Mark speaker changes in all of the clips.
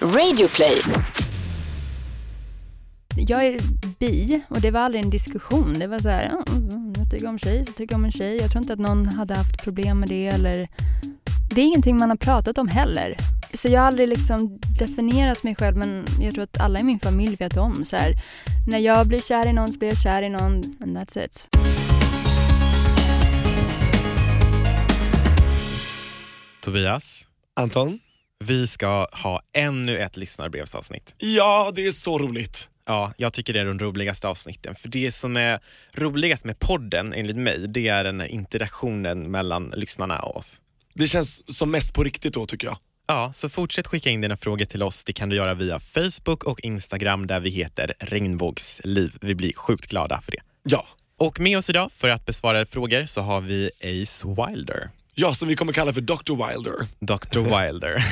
Speaker 1: Radioplay.
Speaker 2: Jag är bi och det var aldrig en diskussion. Det var så här, "Ja, mm, jag tycker om tjejer så tycker jag om en tjej. Jag tror inte att någon hade haft problem med det eller... Det är ingenting man har pratat om heller. Så jag har aldrig liksom definierat mig själv men jag tror att alla i min familj vet om så här. När jag blir kär i någon så blir jag kär i någon and that's it.
Speaker 3: Tobias,
Speaker 4: Anton?
Speaker 3: vi ska ha ännu ett lyssnarbrevsavsnitt.
Speaker 4: Ja, det är så roligt.
Speaker 3: Ja, jag tycker det är de roligaste avsnitten. För det som är roligast med podden, enligt mig, det är den här interaktionen mellan lyssnarna och oss.
Speaker 4: Det känns som mest på riktigt då tycker jag.
Speaker 3: Ja, så fortsätt skicka in dina frågor till oss. Det kan du göra via Facebook och Instagram där vi heter Regnbågsliv. Vi blir sjukt glada för det.
Speaker 4: Ja.
Speaker 3: Och med oss idag för att besvara frågor så har vi Ace Wilder.
Speaker 4: Ja, som vi kommer kalla för Dr. Wilder.
Speaker 3: Dr Wilder.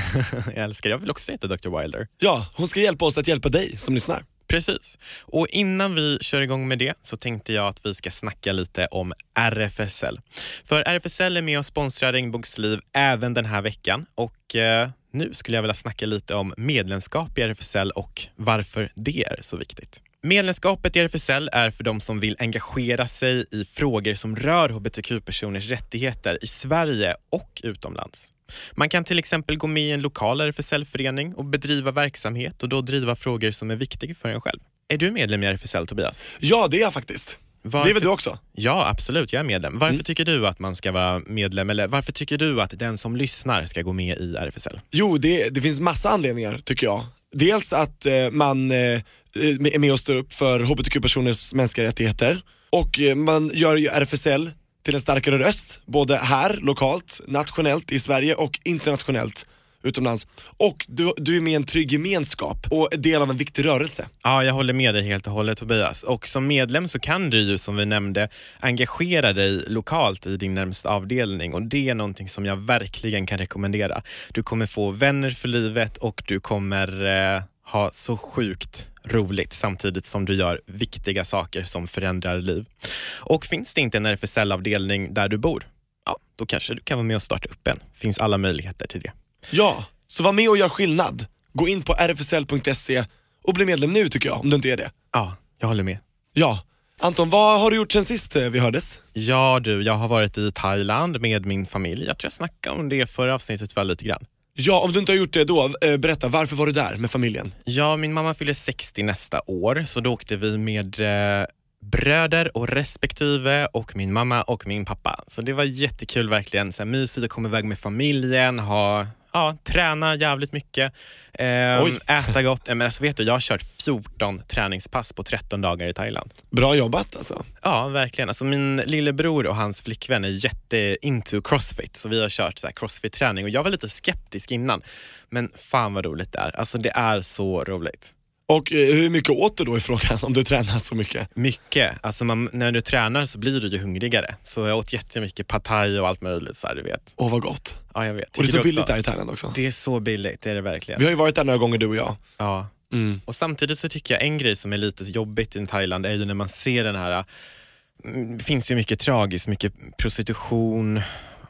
Speaker 3: jag älskar, jag vill också heta Dr Wilder.
Speaker 4: Ja, hon ska hjälpa oss att hjälpa dig som lyssnar.
Speaker 3: Precis. Och innan vi kör igång med det så tänkte jag att vi ska snacka lite om RFSL. För RFSL är med och sponsrar Regnbågsliv även den här veckan och eh, nu skulle jag vilja snacka lite om medlemskap i RFSL och varför det är så viktigt. Medlemskapet i RFSL är för de som vill engagera sig i frågor som rör hbtq-personers rättigheter i Sverige och utomlands. Man kan till exempel gå med i en lokal RFSL-förening och bedriva verksamhet och då driva frågor som är viktiga för en själv. Är du medlem i RFSL, Tobias?
Speaker 4: Ja, det är jag faktiskt.
Speaker 3: Varför-
Speaker 4: Det är väl Mm. du också?
Speaker 3: Ja, absolut. Jag är medlem. Varför tycker du att man ska vara medlem? Eller varför tycker du att den som lyssnar ska gå med i RFSL?
Speaker 4: Jo, det, det finns massa anledningar tycker jag. Dels att eh, man eh, är med och står upp för hbtq-personers mänskliga rättigheter och eh, man gör ju RFSL till en starkare röst, både här, lokalt, nationellt i Sverige och internationellt utomlands. Och du, du är med i en trygg gemenskap och är del av en viktig rörelse.
Speaker 3: Ja, jag håller med dig helt och hållet Tobias. Och som medlem så kan du ju som vi nämnde engagera dig lokalt i din närmsta avdelning och det är någonting som jag verkligen kan rekommendera. Du kommer få vänner för livet och du kommer eh, ha så sjukt roligt samtidigt som du gör viktiga saker som förändrar liv. Och finns det inte en RFSL-avdelning där du bor? Ja, då kanske du kan vara med och starta upp en. Finns alla möjligheter till det.
Speaker 4: Ja, så var med och gör skillnad. Gå in på rfsl.se E och bli medlem nu tycker jag, om du inte är det.
Speaker 3: Ja, jag håller med.
Speaker 4: Ja, Anton, vad har du gjort sen sist eh, vi hördes?
Speaker 3: Ja du, jag har varit i Thailand med min familj. Jag tror jag snackade om det förra avsnittet väl lite grann.
Speaker 4: Ja, om du inte har gjort det då, eh, berätta, varför var du där med familjen?
Speaker 3: Ja, min mamma fyller 60 nästa år så då åkte vi med eh, bröder och respektive och min mamma och min pappa. Så det var jättekul verkligen. Så här, mysigt att komma iväg med familjen, ha Ja, träna jävligt mycket, ehm,
Speaker 4: Oj.
Speaker 3: äta gott. Ja, Men alltså vet du, jag har kört 14 träningspass på 13 dagar i Thailand.
Speaker 4: Bra jobbat alltså.
Speaker 3: Ja, verkligen. Alltså min lillebror och hans flickvän är jätte into crossfit, så vi har kört så här crossfit-träning. Och Jag var lite skeptisk innan, men fan vad roligt det är. Alltså det är så roligt.
Speaker 4: Och eh, hur mycket åt du då i frågan om du tränar så mycket?
Speaker 3: Mycket. Alltså man, när du tränar så blir du ju hungrigare. Så jag åt jättemycket pad thai och allt möjligt. Så här, du vet.
Speaker 4: Åh vad gott.
Speaker 3: Ja, jag vet.
Speaker 4: Och det
Speaker 3: Tycker
Speaker 4: är
Speaker 3: du
Speaker 4: så
Speaker 3: också?
Speaker 4: billigt där i Thailand också.
Speaker 3: Det är så billigt, det är det verkligen.
Speaker 4: Vi har ju varit där några gånger du och jag. Mm.
Speaker 3: Ja. Och Samtidigt så tycker jag en grej som är lite jobbigt i Thailand är ju när man ser den här, mm, det finns ju mycket tragiskt, mycket prostitution,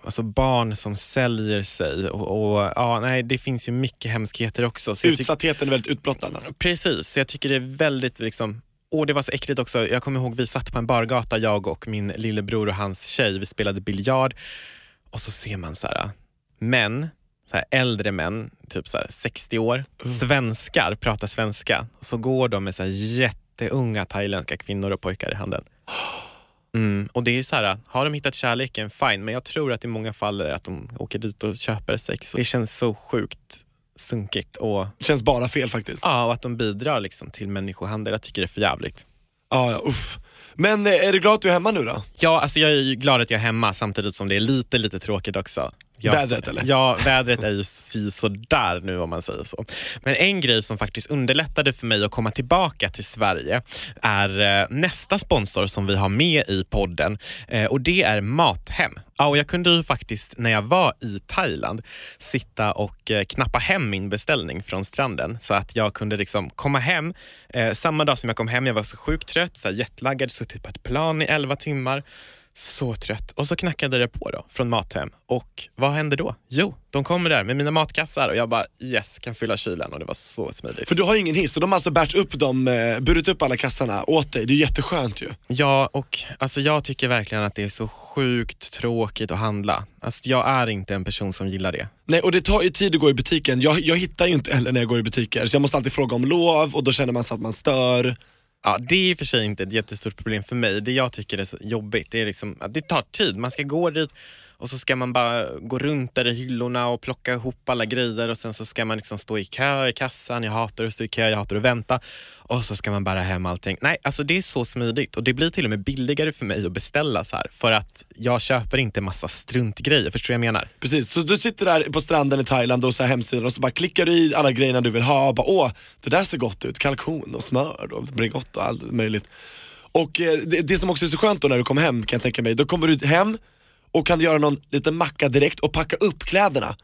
Speaker 3: alltså barn som säljer sig och, och ja, nej, det finns ju mycket hemskheter också. Så jag tycker-
Speaker 4: Utsattheten är väldigt utblottad alltså.
Speaker 3: Precis, så jag tycker det är väldigt liksom och det var så äckligt också. Jag kommer ihåg vi satt på en bargata, jag och min lillebror och hans tjej. Vi spelade biljard och så ser man så här, äh, män, så här, äldre män, typ så här 60 år, svenskar, pratar svenska. Och så går de med så här jätteunga thailändska kvinnor och pojkar i handen. Mm. Och det är så här, har de hittat kärleken, fine. Men jag tror att i många fall är det att de åker dit och köper sex. Det känns så sjukt sunkigt och
Speaker 4: Känns bara fel faktiskt.
Speaker 3: Ja, och att de bidrar liksom till människohandel. Jag tycker det är för jävligt.
Speaker 4: Ja, ja, uff. Men eh, är du glad att du är hemma nu då?
Speaker 3: Ja, alltså jag är ju glad att jag är hemma samtidigt som det är lite, lite tråkigt också. Jag,
Speaker 4: Vädret, eller?
Speaker 3: Ja, vädret är ju si sådär nu om man säger så. Men en grej som faktiskt underlättade för mig att komma tillbaka till Sverige är eh, nästa sponsor som vi har med i podden eh, och det är Mathem. Ja, och jag kunde ju faktiskt när jag var i Thailand sitta och eh, knappa hem min beställning från stranden så att jag kunde liksom komma hem. typ Eh, samma dag som jag kom hem, jag var så sjukt trött, så här jetlaggad, suttit på ett plan i 11 timmar. Så trött. Och så knackade det på då, från Mathem. Och vad hände då? Jo, de kommer där med mina matkassar och jag bara yes, kan fylla kylen och det var så smidigt.
Speaker 4: För du har ju ingen hiss och de har alltså bärt upp dem, eh, burit upp alla kassarna åt dig. Det är jätteskönt ju.
Speaker 3: Ja, och alltså jag tycker verkligen att det är så sjukt tråkigt att handla. Alltså jag är inte en person som gillar det.
Speaker 4: Nej, och det tar ju tid att gå i butiken. Jag, jag hittar ju inte heller när jag går i butiker, så jag måste alltid fråga om lov och då känner man sig att man stör.
Speaker 3: Ja, det är i och för sig inte ett jättestort problem för mig. Det jag tycker är så jobbigt det är liksom att det tar tid. Man ska gå dit och så ska man bara gå runt där i hyllorna och plocka ihop alla grejer och sen så ska man liksom stå i kö i kassan. Jag hatar att stå i kö, jag hatar att vänta. Och så ska man bära hem allting. Nej, alltså det är så smidigt och det blir till och med billigare för mig att beställa så här för att jag köper inte massa struntgrejer. Förstår du vad jag menar?
Speaker 4: Precis, så du sitter där på stranden i Thailand och så här hemsidan och så bara klickar du i alla grejerna du vill ha och bara åh, det där ser gott ut. Kalkon och smör och Bregott och allt möjligt. Och eh, det, det som också är så skönt då när du kommer hem kan jag tänka mig, då kommer du hem och kan göra någon liten macka direkt och packa upp kläderna.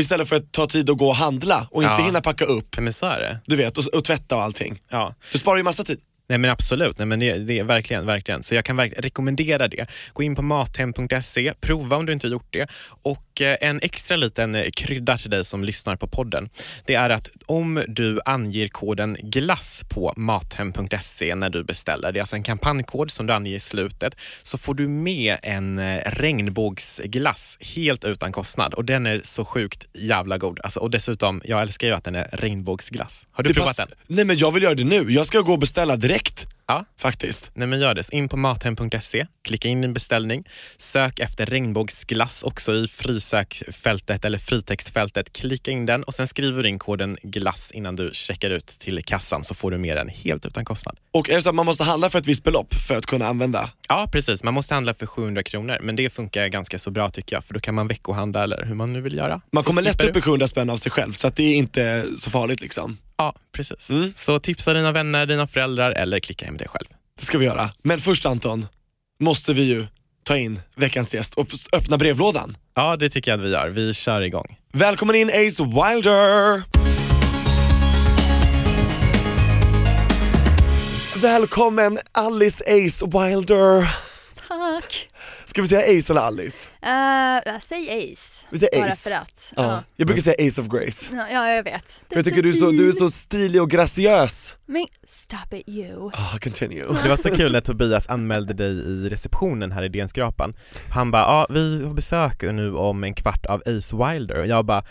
Speaker 4: Istället för att ta tid att gå och handla och inte
Speaker 3: Ja.
Speaker 4: hinna packa upp,
Speaker 3: Nej, Men så är det.
Speaker 4: du vet, och, och tvätta och allting.
Speaker 3: Ja.
Speaker 4: Du sparar ju massa tid.
Speaker 3: Nej men absolut, Nej, men det, det, är verkligen, verkligen. Så jag kan verkligen rekommendera det. Gå in på mathem.se, prova om du inte gjort det. Och eh, en extra liten eh, krydda till dig som lyssnar på podden, det är att om du anger koden glass på mathem.se när du beställer, det är alltså en kampankod som du anger i slutet, så får du med en eh, regnbågsglass helt utan kostnad. Och den är så sjukt jävla god. Alltså, och dessutom, jag älskar ju att den är regnbågsglass. Har du
Speaker 4: Det
Speaker 3: provat
Speaker 4: pass-
Speaker 3: den?
Speaker 4: Nej men jag vill göra det nu, jag ska gå och beställa direkt
Speaker 3: Ja.
Speaker 4: faktiskt.
Speaker 3: Nej, men gör det. Så In på mathem.se, klicka in din beställning, sök efter regnbågsglass också i frisökfältet eller fritextfältet. Klicka in den och sen skriver du in koden glass innan du checkar ut till kassan så får du med den helt utan kostnad.
Speaker 4: Och är det så att man måste handla för ett visst belopp för att kunna använda?
Speaker 3: Ja, precis. Man måste handla för 700 kronor, men det funkar ganska så bra tycker jag, för då kan man veckohandla eller hur man nu vill göra.
Speaker 4: Man
Speaker 3: Så
Speaker 4: kommer lätt
Speaker 3: slipper
Speaker 4: upp i 700 spänn av sig själv så att det är inte så farligt liksom.
Speaker 3: Ja, precis.
Speaker 4: Mm.
Speaker 3: Så tipsa dina vänner, dina föräldrar eller klicka hem det själv.
Speaker 4: Det ska vi göra. Men först Anton, måste vi ju ta in veckans gäst och öppna brevlådan.
Speaker 3: Ja, det tycker jag att vi gör. Vi kör igång.
Speaker 4: Välkommen in Ace Wilder! Välkommen Alice Ace Wilder!
Speaker 2: Tack!
Speaker 4: Ska vi säga Ace eller Alice?
Speaker 2: Eh, säg Ace.
Speaker 4: Vi säger
Speaker 2: Bara
Speaker 4: Ace.
Speaker 2: för att. Ja.
Speaker 4: Jag brukar säga Ace of Grace.
Speaker 2: Ja. ja, jag vet.
Speaker 4: För jag tycker du är så, du är så stilig och graciös.
Speaker 2: Men stop it you.
Speaker 4: Ah, continue.
Speaker 3: Det var så kul att Tobias anmälde dig i receptionen här i DN Skrapan. Han bara, ja vi har besök nu om en kvart av Ace Wilder och jag bara,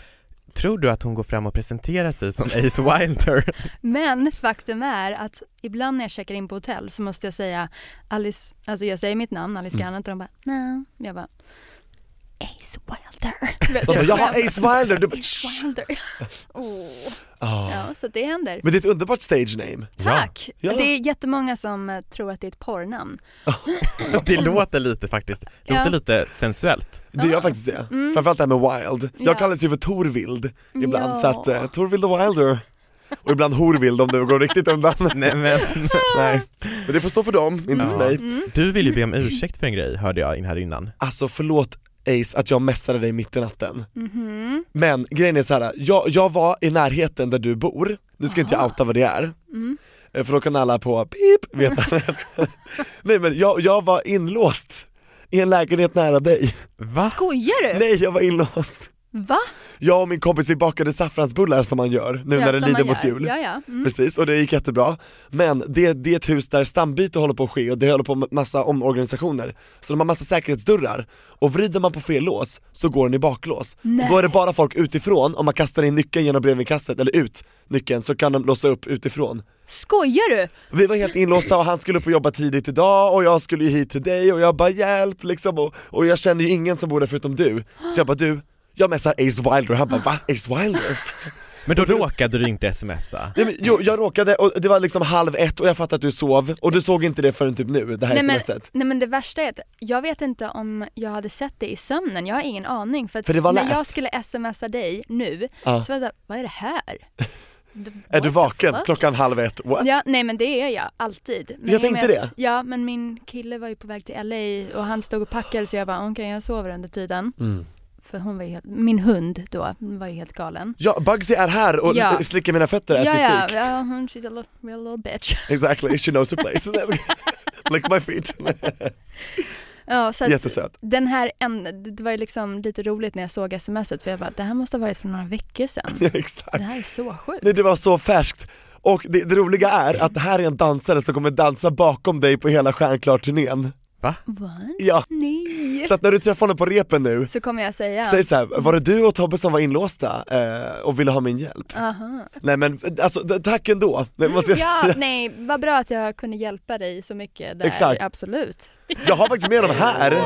Speaker 3: tror du att hon går fram och presenterar sig som Ace Wilder?
Speaker 2: Men faktum är att ibland när jag checkar in på hotell så måste jag säga Alice, alltså jag säger mitt namn, Alice
Speaker 4: Mm.
Speaker 2: Garnett och de bara nej. Jag bara Ace Wilder. Vet
Speaker 4: De bara,
Speaker 2: jag
Speaker 4: jag har
Speaker 2: skämt.
Speaker 4: Ace Wilder. Du bara,
Speaker 2: Ace
Speaker 4: "Shh."
Speaker 2: Wilder. Åh.
Speaker 4: Ah.
Speaker 2: Ja, så det händer.
Speaker 4: Men det är ett underbart stage name.
Speaker 2: Tack!
Speaker 4: Ja.
Speaker 2: Det är jättemånga som eh, tror att det är ett porrnamn.
Speaker 3: Det låter lite faktiskt, det låter
Speaker 2: Ja.
Speaker 3: lite sensuellt.
Speaker 4: Det gör
Speaker 2: Ja. Mm.
Speaker 4: faktiskt det. Framförallt det här med wild.
Speaker 2: Ja.
Speaker 4: Jag kallas ju för Torvild ibland,
Speaker 2: Ja.
Speaker 4: så att eh, Torvild och Wilder. Och ibland Horvild om det går riktigt undan.
Speaker 3: Nej, men,
Speaker 4: Nej. Men det får stå för dem, inte för
Speaker 3: Ja.
Speaker 4: mig.
Speaker 2: Mm.
Speaker 3: du ville ju be om ursäkt för en grej hörde jag in här innan.
Speaker 4: Alltså förlåt Ace att jag messade dig mitt i natten.
Speaker 2: Mm-hmm.
Speaker 4: Men grejen är så här. Jag, jag var i närheten där du bor, nu ska inte jag outa vad det är.
Speaker 2: Mm.
Speaker 4: Eh, För då kan alla på pip veta. Nej, jag skojar. Nej men jag, jag var inlåst i en lägenhet nära dig.
Speaker 3: Va?
Speaker 2: Skojar du?
Speaker 4: Nej jag var inlåst.
Speaker 2: Va?
Speaker 4: Jag och min kompis vi bakade saffransbullar som man gör nu
Speaker 2: Ja,
Speaker 4: när det
Speaker 2: som man
Speaker 4: lider mot
Speaker 2: gör.
Speaker 4: jul.
Speaker 2: Ja, ja. Mm.
Speaker 4: Precis, och det gick jättebra. Men det, det är ett hus där stambyte håller på att ske och det håller på med massa omorganisationer. Så de har massa säkerhetsdörrar och vrider man på fel lås så går den i baklås.
Speaker 2: Nej.
Speaker 4: Och då är det bara folk utifrån, om man kastar in nyckeln genom brevinkastet, eller ut nyckeln, så kan de låsa upp utifrån.
Speaker 2: Skojar du?
Speaker 4: Vi var helt inlåsta och han skulle upp och jobba tidigt idag och jag skulle ju hit till dig och jag bara hjälp liksom och, och jag kände ju ingen som bor där förutom du. Så jag bara du, jag messar Ace Wilder och han bara va? Ace Wilder?
Speaker 3: Men då råkade du inte smsa.
Speaker 4: Nej, men, jo, jag råkade och det var liksom halv ett och jag fattade att du sov och du såg inte det förrän typ nu, det här
Speaker 2: Nej men,
Speaker 4: smset.
Speaker 2: nej men det värsta är att jag vet inte om jag hade sett det i sömnen, jag har ingen aning. För, att
Speaker 4: För det var
Speaker 2: när
Speaker 4: läst.
Speaker 2: jag skulle smsa dig nu,
Speaker 4: Ja.
Speaker 2: så var jag såhär, vad är det här? The-
Speaker 4: Är du
Speaker 2: what the
Speaker 4: vaken
Speaker 2: fuck?
Speaker 4: klockan halv ett? What?
Speaker 2: Ja, nej men det är jag, alltid. Men
Speaker 4: Jag
Speaker 2: i och med
Speaker 4: tänkte
Speaker 2: att- Ja, men min kille var ju på väg till LA och han stod och packade så jag bara, okej jag sover under tiden.
Speaker 4: Mm.
Speaker 2: För hon var ju helt, min hund då, var ju helt galen.
Speaker 4: Ja, Bugsy är här och
Speaker 2: Ja.
Speaker 4: slickar mina fötter as
Speaker 2: Ja,
Speaker 4: we
Speaker 2: ja,
Speaker 4: speak.
Speaker 2: ja, hon, she's a little, real little bitch.
Speaker 4: Exactly, she knows her place. Lick my feet.
Speaker 2: Ja, så att
Speaker 4: Jättesöt.
Speaker 2: den här en, det var ju liksom lite roligt när jag såg smset för jag bara, det här måste ha varit för några veckor sedan.
Speaker 4: Ja, exakt.
Speaker 2: Det här är så sjukt.
Speaker 4: Nej, det var så färskt. Och det, det roliga är att det här är en dansare som kommer dansa bakom dig på hela Stjärnklart-turnén.
Speaker 2: What?
Speaker 4: Ja,
Speaker 2: Nej.
Speaker 4: så att när du träffar honom på repen nu,
Speaker 2: Så kommer jag säga.
Speaker 4: säg så här, var det du och Tobbe som var inlåsta eh, och ville ha min hjälp?
Speaker 2: Aha.
Speaker 4: Nej men alltså d- tack ändå. Nej, måste jag,
Speaker 2: Ja, nej, vad bra att jag kunde hjälpa dig så mycket där.
Speaker 4: Exakt.
Speaker 2: Absolut.
Speaker 4: jag har faktiskt med dem här.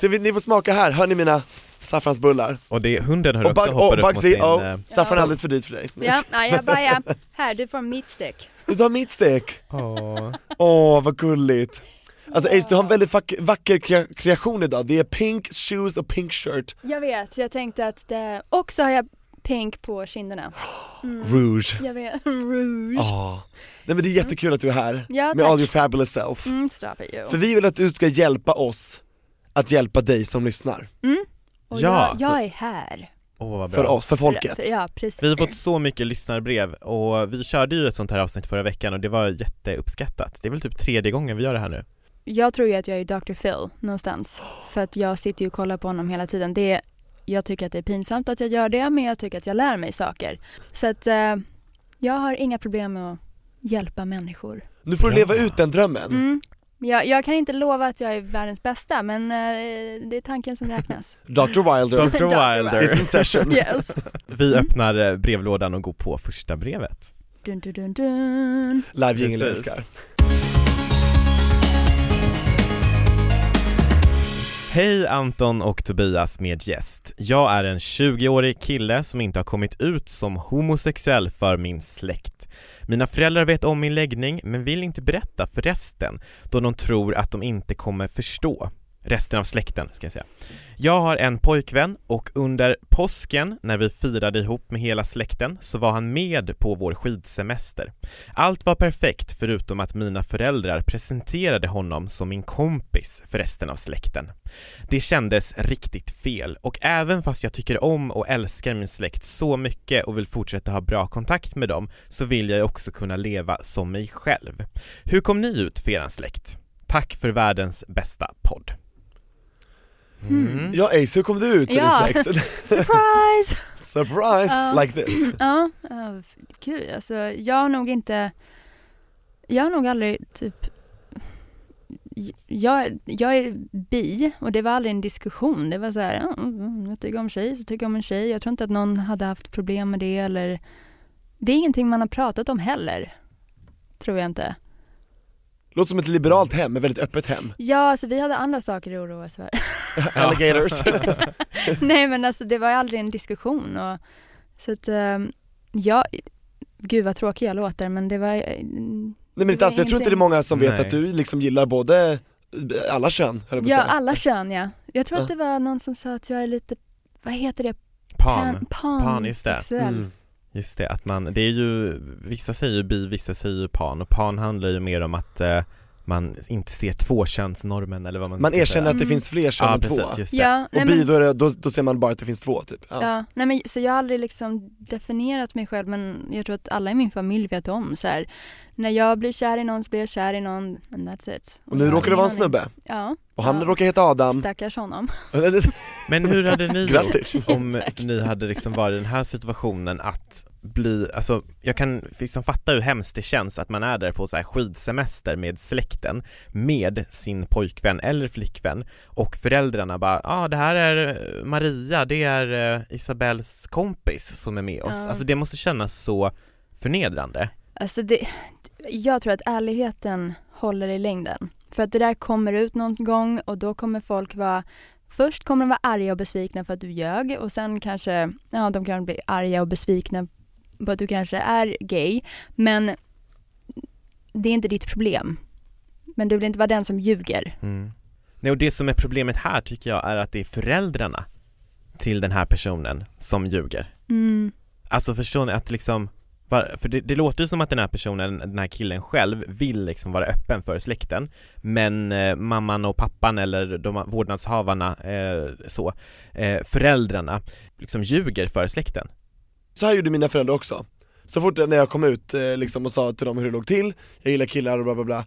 Speaker 4: Så vi, ni får smaka här, hör ni mina saffransbullar?
Speaker 3: Och det, hunden har
Speaker 4: Och,
Speaker 3: också
Speaker 4: Bug-
Speaker 3: hoppat
Speaker 4: och
Speaker 3: upp mot
Speaker 4: Bugsy,
Speaker 3: din...
Speaker 4: oh,
Speaker 3: eh,
Speaker 4: saffran är
Speaker 2: Ja.
Speaker 4: alldeles för dyrt för dig.
Speaker 2: Ja, nej, jag bara, ja. här du får mitt stick.
Speaker 4: Du tar mitt stek.
Speaker 3: åh.
Speaker 4: Åh vad gulligt. Alltså Ace, du har en väldigt vack- vacker kre- kreation idag. Det är pink shoes och pink shirt.
Speaker 2: Jag vet, jag tänkte att det, och så har jag pink på kinderna. Mm.
Speaker 4: Rouge.
Speaker 2: Jag vet, rouge.
Speaker 4: Åh. Nej men det är jättekul att du är här.
Speaker 2: Ja,
Speaker 4: med
Speaker 2: tack.
Speaker 4: all your fabulous self.
Speaker 2: Mm, stop it you.
Speaker 4: För vi vill att du ska hjälpa oss att hjälpa dig som lyssnar.
Speaker 2: Och
Speaker 3: Ja.
Speaker 2: jag, jag är här.
Speaker 3: Åh, vad bra.
Speaker 4: För oss, för folket.
Speaker 2: För- Ja, precis.
Speaker 3: Vi har fått så mycket lyssnarbrev och vi körde ju ett sånt här avsnitt förra veckan och det var jätteuppskattat. Det är väl typ tredje gången vi gör det här nu.
Speaker 2: Jag tror ju att jag är Dr. Phil någonstans. För att jag sitter ju och kollar på honom hela tiden. Det är, jag tycker att det är pinsamt att jag gör det, men jag tycker att jag lär mig saker. Så att eh, jag har inga problem med att hjälpa människor.
Speaker 4: Nu får du
Speaker 3: Bra.
Speaker 4: leva ut den drömmen.
Speaker 2: Mm. Jag, jag kan inte lova att jag är världens bästa, men eh, det är tanken som räknas.
Speaker 4: Dr Wilder
Speaker 3: Dr. Wilder.
Speaker 4: is in session.
Speaker 2: yes.
Speaker 3: Vi öppnar eh, brevlådan och går på första brevet.
Speaker 2: Dun, dun, dun, dun.
Speaker 4: Live jingel
Speaker 3: Precis.
Speaker 4: älskar.
Speaker 3: Hej Anton och Tobias med gäst. Jag är en 20-årig kille som inte har kommit ut som homosexuell för min släkt. Mina föräldrar vet om min läggning men vill inte berätta för resten då de tror att de inte kommer förstå. Resten av släkten ska jag säga. Jag har en pojkvän och under påsken när vi firade ihop med hela släkten så var han med på vår skidsemester. Allt var perfekt förutom att mina föräldrar presenterade honom som min kompis för resten av släkten. Det kändes riktigt fel och även fast jag tycker om och älskar min släkt så mycket och vill fortsätta ha bra kontakt med dem så vill jag ju också kunna leva som mig själv. Hur kom ni ut för eran släkt? Tack för världens bästa podd. Mm.
Speaker 4: Ja Ace, hur kom du ut ur
Speaker 2: Ja.
Speaker 4: din släkt?
Speaker 2: Surprise!
Speaker 4: Surprise!
Speaker 2: Ja.
Speaker 4: Like this.
Speaker 2: Ja, ja, gud alltså jag har nog inte, jag har nog aldrig typ, jag, jag är bi och det var aldrig en diskussion. Det var så här, ja, mm, jag tycker om tjej så tycker jag om en tjej. Jag tror inte att någon hade haft problem med det eller, det är ingenting man har pratat om heller. Tror jag inte.
Speaker 4: Låter som ett liberalt hem, ett väldigt öppet hem.
Speaker 2: Ja, alltså vi hade andra saker att oroa oss för.
Speaker 4: Alligators.
Speaker 2: Nej men alltså det var ju aldrig en diskussion och så att eh, jag, gud vad tråkig jag låter men det var, eh,
Speaker 4: Nej men inte alls, jag tror inte det är många som vet
Speaker 3: Nej.
Speaker 4: att du liksom gillar både eh, alla kön, höll jag på
Speaker 2: ja
Speaker 4: att säga.
Speaker 2: alla kön ja. Jag tror att det var någon som sa att jag är lite, vad heter det,
Speaker 3: Pan.
Speaker 2: pan,
Speaker 3: Pan, just det.
Speaker 2: sexuell.
Speaker 4: Mm.
Speaker 3: Just det, att man, det är ju, vissa säger ju bi, vissa säger ju pan och pan handlar ju mer om att eh, man inte ser tvåkönsnormen eller vad man
Speaker 4: Man
Speaker 3: ska
Speaker 4: erkänner
Speaker 3: säga.
Speaker 4: att det
Speaker 2: Mm.
Speaker 4: finns fler kön
Speaker 3: Ja
Speaker 4: än två.
Speaker 3: precis, just det.
Speaker 2: Ja, nej, men,
Speaker 4: Och bi, då, är det, då, då ser man bara att det finns två typ. Ja.
Speaker 2: ja, nej men så jag har aldrig liksom definierat mig själv men jag tror att alla i min familj vet om så här. när jag blir kär i någon så blir jag kär i någon and that's it.
Speaker 4: Och nu
Speaker 2: jag har
Speaker 4: råkar det vara en
Speaker 2: ingen aning.
Speaker 4: snubbe,
Speaker 2: Ja,
Speaker 4: och han
Speaker 2: Ja.
Speaker 4: råkar heta Adam.
Speaker 2: stackars honom.
Speaker 3: Men hur hade ni gjort
Speaker 4: Grattis!
Speaker 3: om ni hade liksom varit i den här situationen att bli, alltså jag kan liksom fatta hur hemskt det känns att man är där på så här skidsemester med släkten med sin pojkvän eller flickvän och föräldrarna bara, ja ah, det här är eh, Maria, det är eh, Isabells kompis som är med oss.
Speaker 2: Ja.
Speaker 3: Alltså det måste kännas så förnedrande.
Speaker 2: Alltså det, jag tror att ärligheten håller i längden. För att det där kommer ut någon gång och då kommer folk vara Först kommer de vara arga och besvikna för att du ljög och sen kanske, ja de kan bli arga och besvikna på att du kanske är gay. Men det är inte ditt problem. Men du vill inte vara den som ljuger.
Speaker 3: Mm. Nej, och det som är problemet här tycker jag är att det är föräldrarna till den här personen som ljuger.
Speaker 2: Mm.
Speaker 3: Alltså förstår ni att liksom var- för det, det låter ju som att den här personen, den här killen själv vill liksom vara öppen för släkten Men eh, mamman och pappan eller de vårdnadshavarna eh, så eh, Föräldrarna liksom ljuger för släkten
Speaker 4: Så här gjorde mina föräldrar också. Så fort när jag kom ut eh, liksom, och sa till dem hur det låg till, jag gillar killar och bla bla bla.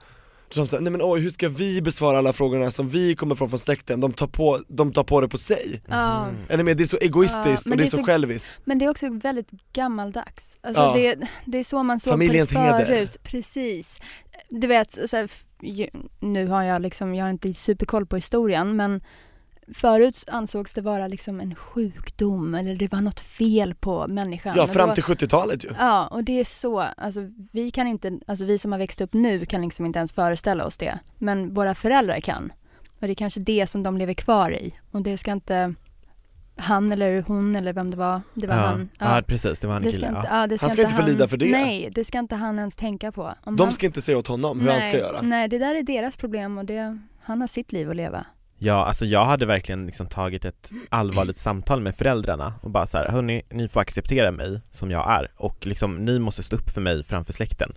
Speaker 4: som säger, nej men oj, hur ska vi besvara alla frågorna som vi kommer från från släkten? De tar på, de tar på det på sig.
Speaker 2: Ja.
Speaker 4: Är ni med? Det är så egoistiskt
Speaker 2: Ja, men
Speaker 4: och det är
Speaker 2: det är
Speaker 4: så,
Speaker 2: så-
Speaker 4: själviskt.
Speaker 2: Men det är också väldigt gammaldags. Alltså
Speaker 4: Ja.
Speaker 2: det, det är så man såg
Speaker 4: Familjens
Speaker 2: på det förut.
Speaker 4: heder.
Speaker 2: Precis. Du vet, så här, f- ju- nu har jag liksom, jag har inte superkoll på historien men förut ansågs det vara liksom en sjukdom eller det var något fel på människan.
Speaker 4: Ja,
Speaker 2: Och då-
Speaker 4: fram till 70-talet ju.
Speaker 2: Ja, och det är så, alltså vi kan inte, alltså vi som har växt upp nu kan liksom inte ens föreställa oss det. Men våra föräldrar kan. Och det är kanske det som de lever kvar i. Och det ska inte han eller hon eller vem det var, det var han.
Speaker 3: Ja. ja, precis. Det var han
Speaker 2: Det ska
Speaker 3: killen.
Speaker 2: inte,
Speaker 3: Ja.
Speaker 2: ja, det ska
Speaker 4: Han ska inte få lida för det.
Speaker 2: Nej, det ska inte han ens tänka på. Om
Speaker 4: De
Speaker 2: han-
Speaker 4: ska inte säga åt honom hur
Speaker 2: Mm. nej,
Speaker 4: han ska göra.
Speaker 2: Nej, det där är deras problem och det, han har sitt liv att leva.
Speaker 3: ja, alltså jag hade verkligen liksom tagit ett allvarligt samtal med föräldrarna och bara så här, hörni, ni får acceptera mig som jag är och liksom ni måste stå upp för mig framför släkten.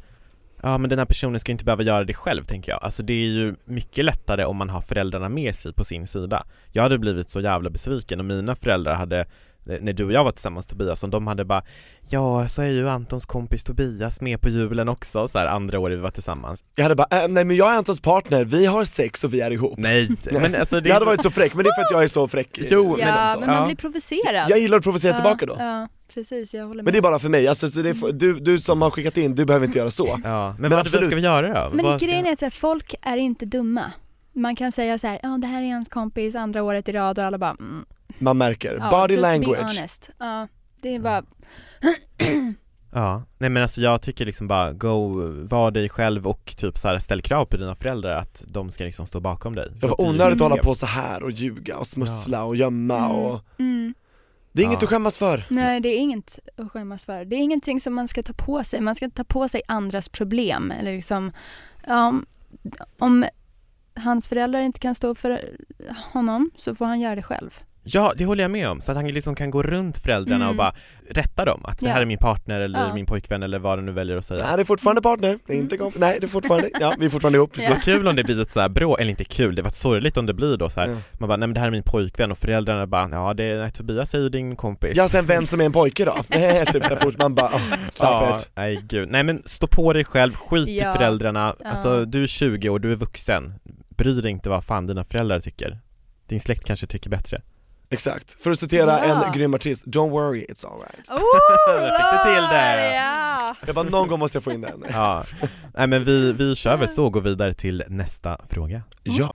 Speaker 3: Ja, men den här personen ska inte behöva göra det själv tänker jag. Alltså det är ju mycket lättare om man har föräldrarna med sig på sin sida. Jag hade blivit så jävla besviken och mina föräldrar hade eh, när du och jag var tillsammans Tobias, och de hade bara Ja, så är ju Antons kompis Tobias med på julen också, så här andra året vi var tillsammans
Speaker 4: Jag hade bara, äh, nej men jag är Antons partner, vi har sex och vi är ihop.
Speaker 3: Nej, men alltså det
Speaker 4: Jag
Speaker 3: är
Speaker 4: hade
Speaker 3: så...
Speaker 4: varit så fräck, men det är för att jag är så fräck. eh,
Speaker 3: Jo,
Speaker 4: liksom
Speaker 2: Ja,
Speaker 4: så.
Speaker 2: men man
Speaker 3: Ja.
Speaker 2: blir provocerad.
Speaker 4: Jag gillar att provocera
Speaker 2: Ja,
Speaker 4: tillbaka då.
Speaker 2: Ja, precis, jag håller med.
Speaker 4: Men det är bara för mig, alltså, så det är för, du, du som har skickat in, du behöver inte göra så.
Speaker 3: Ja, men,
Speaker 4: Men
Speaker 3: vad
Speaker 4: absolut.
Speaker 3: ska vi göra då?
Speaker 2: Men
Speaker 3: Vad ska-
Speaker 2: grejen är att så här, folk är inte dumma. Man kan säga så här, ja det här är hans kompis andra året i rad och alla bara mm,
Speaker 4: Man märker,
Speaker 2: ja,
Speaker 4: body
Speaker 2: just
Speaker 4: language.
Speaker 2: Be honest. Ja, det är bara,
Speaker 3: Ja, nej men alltså jag tycker liksom bara go, var dig själv och typ så här, ställ krav på dina föräldrar att de ska liksom stå bakom dig.
Speaker 4: Det var
Speaker 3: Att du-
Speaker 4: onödigt att hålla på så här och ljuga och smussla och gömma
Speaker 2: Mm.
Speaker 4: och
Speaker 2: mm,
Speaker 4: Det är inget
Speaker 3: Ja.
Speaker 4: att skämmas för.
Speaker 2: nej det är inget att skämmas för. Det är ingenting som man ska ta på sig. Man ska inte ta på sig andras problem eller liksom, ja, om, om hans föräldrar inte kan stå upp för honom så får han göra det själv.
Speaker 3: Ja, det håller jag med om. Så att han liksom kan gå runt föräldrarna
Speaker 2: Mm.
Speaker 3: och bara rätta dem. Att det
Speaker 2: Ja.
Speaker 3: här är min partner eller
Speaker 2: Ja.
Speaker 3: min pojkvän eller vad du nu väljer att säga.
Speaker 4: Nej det är fortfarande partner, det är inte
Speaker 2: Mm.
Speaker 4: kompis. Nej det är fortfarande, ja vi är fortfarande ihop.
Speaker 2: Ja.
Speaker 4: Precis.
Speaker 3: Vad kul om det blir ett så här bråk, eller inte kul, det var sorgligt om det blir då så här.
Speaker 4: Ja.
Speaker 3: man bara nej men det här är min pojkvän och föräldrarna bara ja det är, nej, Tobias säger din kompis.
Speaker 4: Jag har sen vän som är en pojke då. Nej, typ så fort man bara, oh, stop
Speaker 3: Ja,
Speaker 4: it.
Speaker 3: nej gud. Nej men stå på dig själv, skit
Speaker 2: Ja.
Speaker 3: i föräldrarna.
Speaker 2: Ja.
Speaker 3: Alltså du är 20 år, du är vuxen. Bry dig inte vad fan dina föräldrar tycker. Din släkt kanske tycker bättre.
Speaker 4: Exakt. För att citera
Speaker 2: Ja.
Speaker 4: en grym artist, don't worry it's alright.
Speaker 2: Oh,
Speaker 3: Fick du till det?
Speaker 2: Ja.
Speaker 4: Jag bara, någon gång måste jag få in den.
Speaker 3: Ja. Nej men vi, vi kör väl så och går vidare till nästa fråga.
Speaker 4: Ja.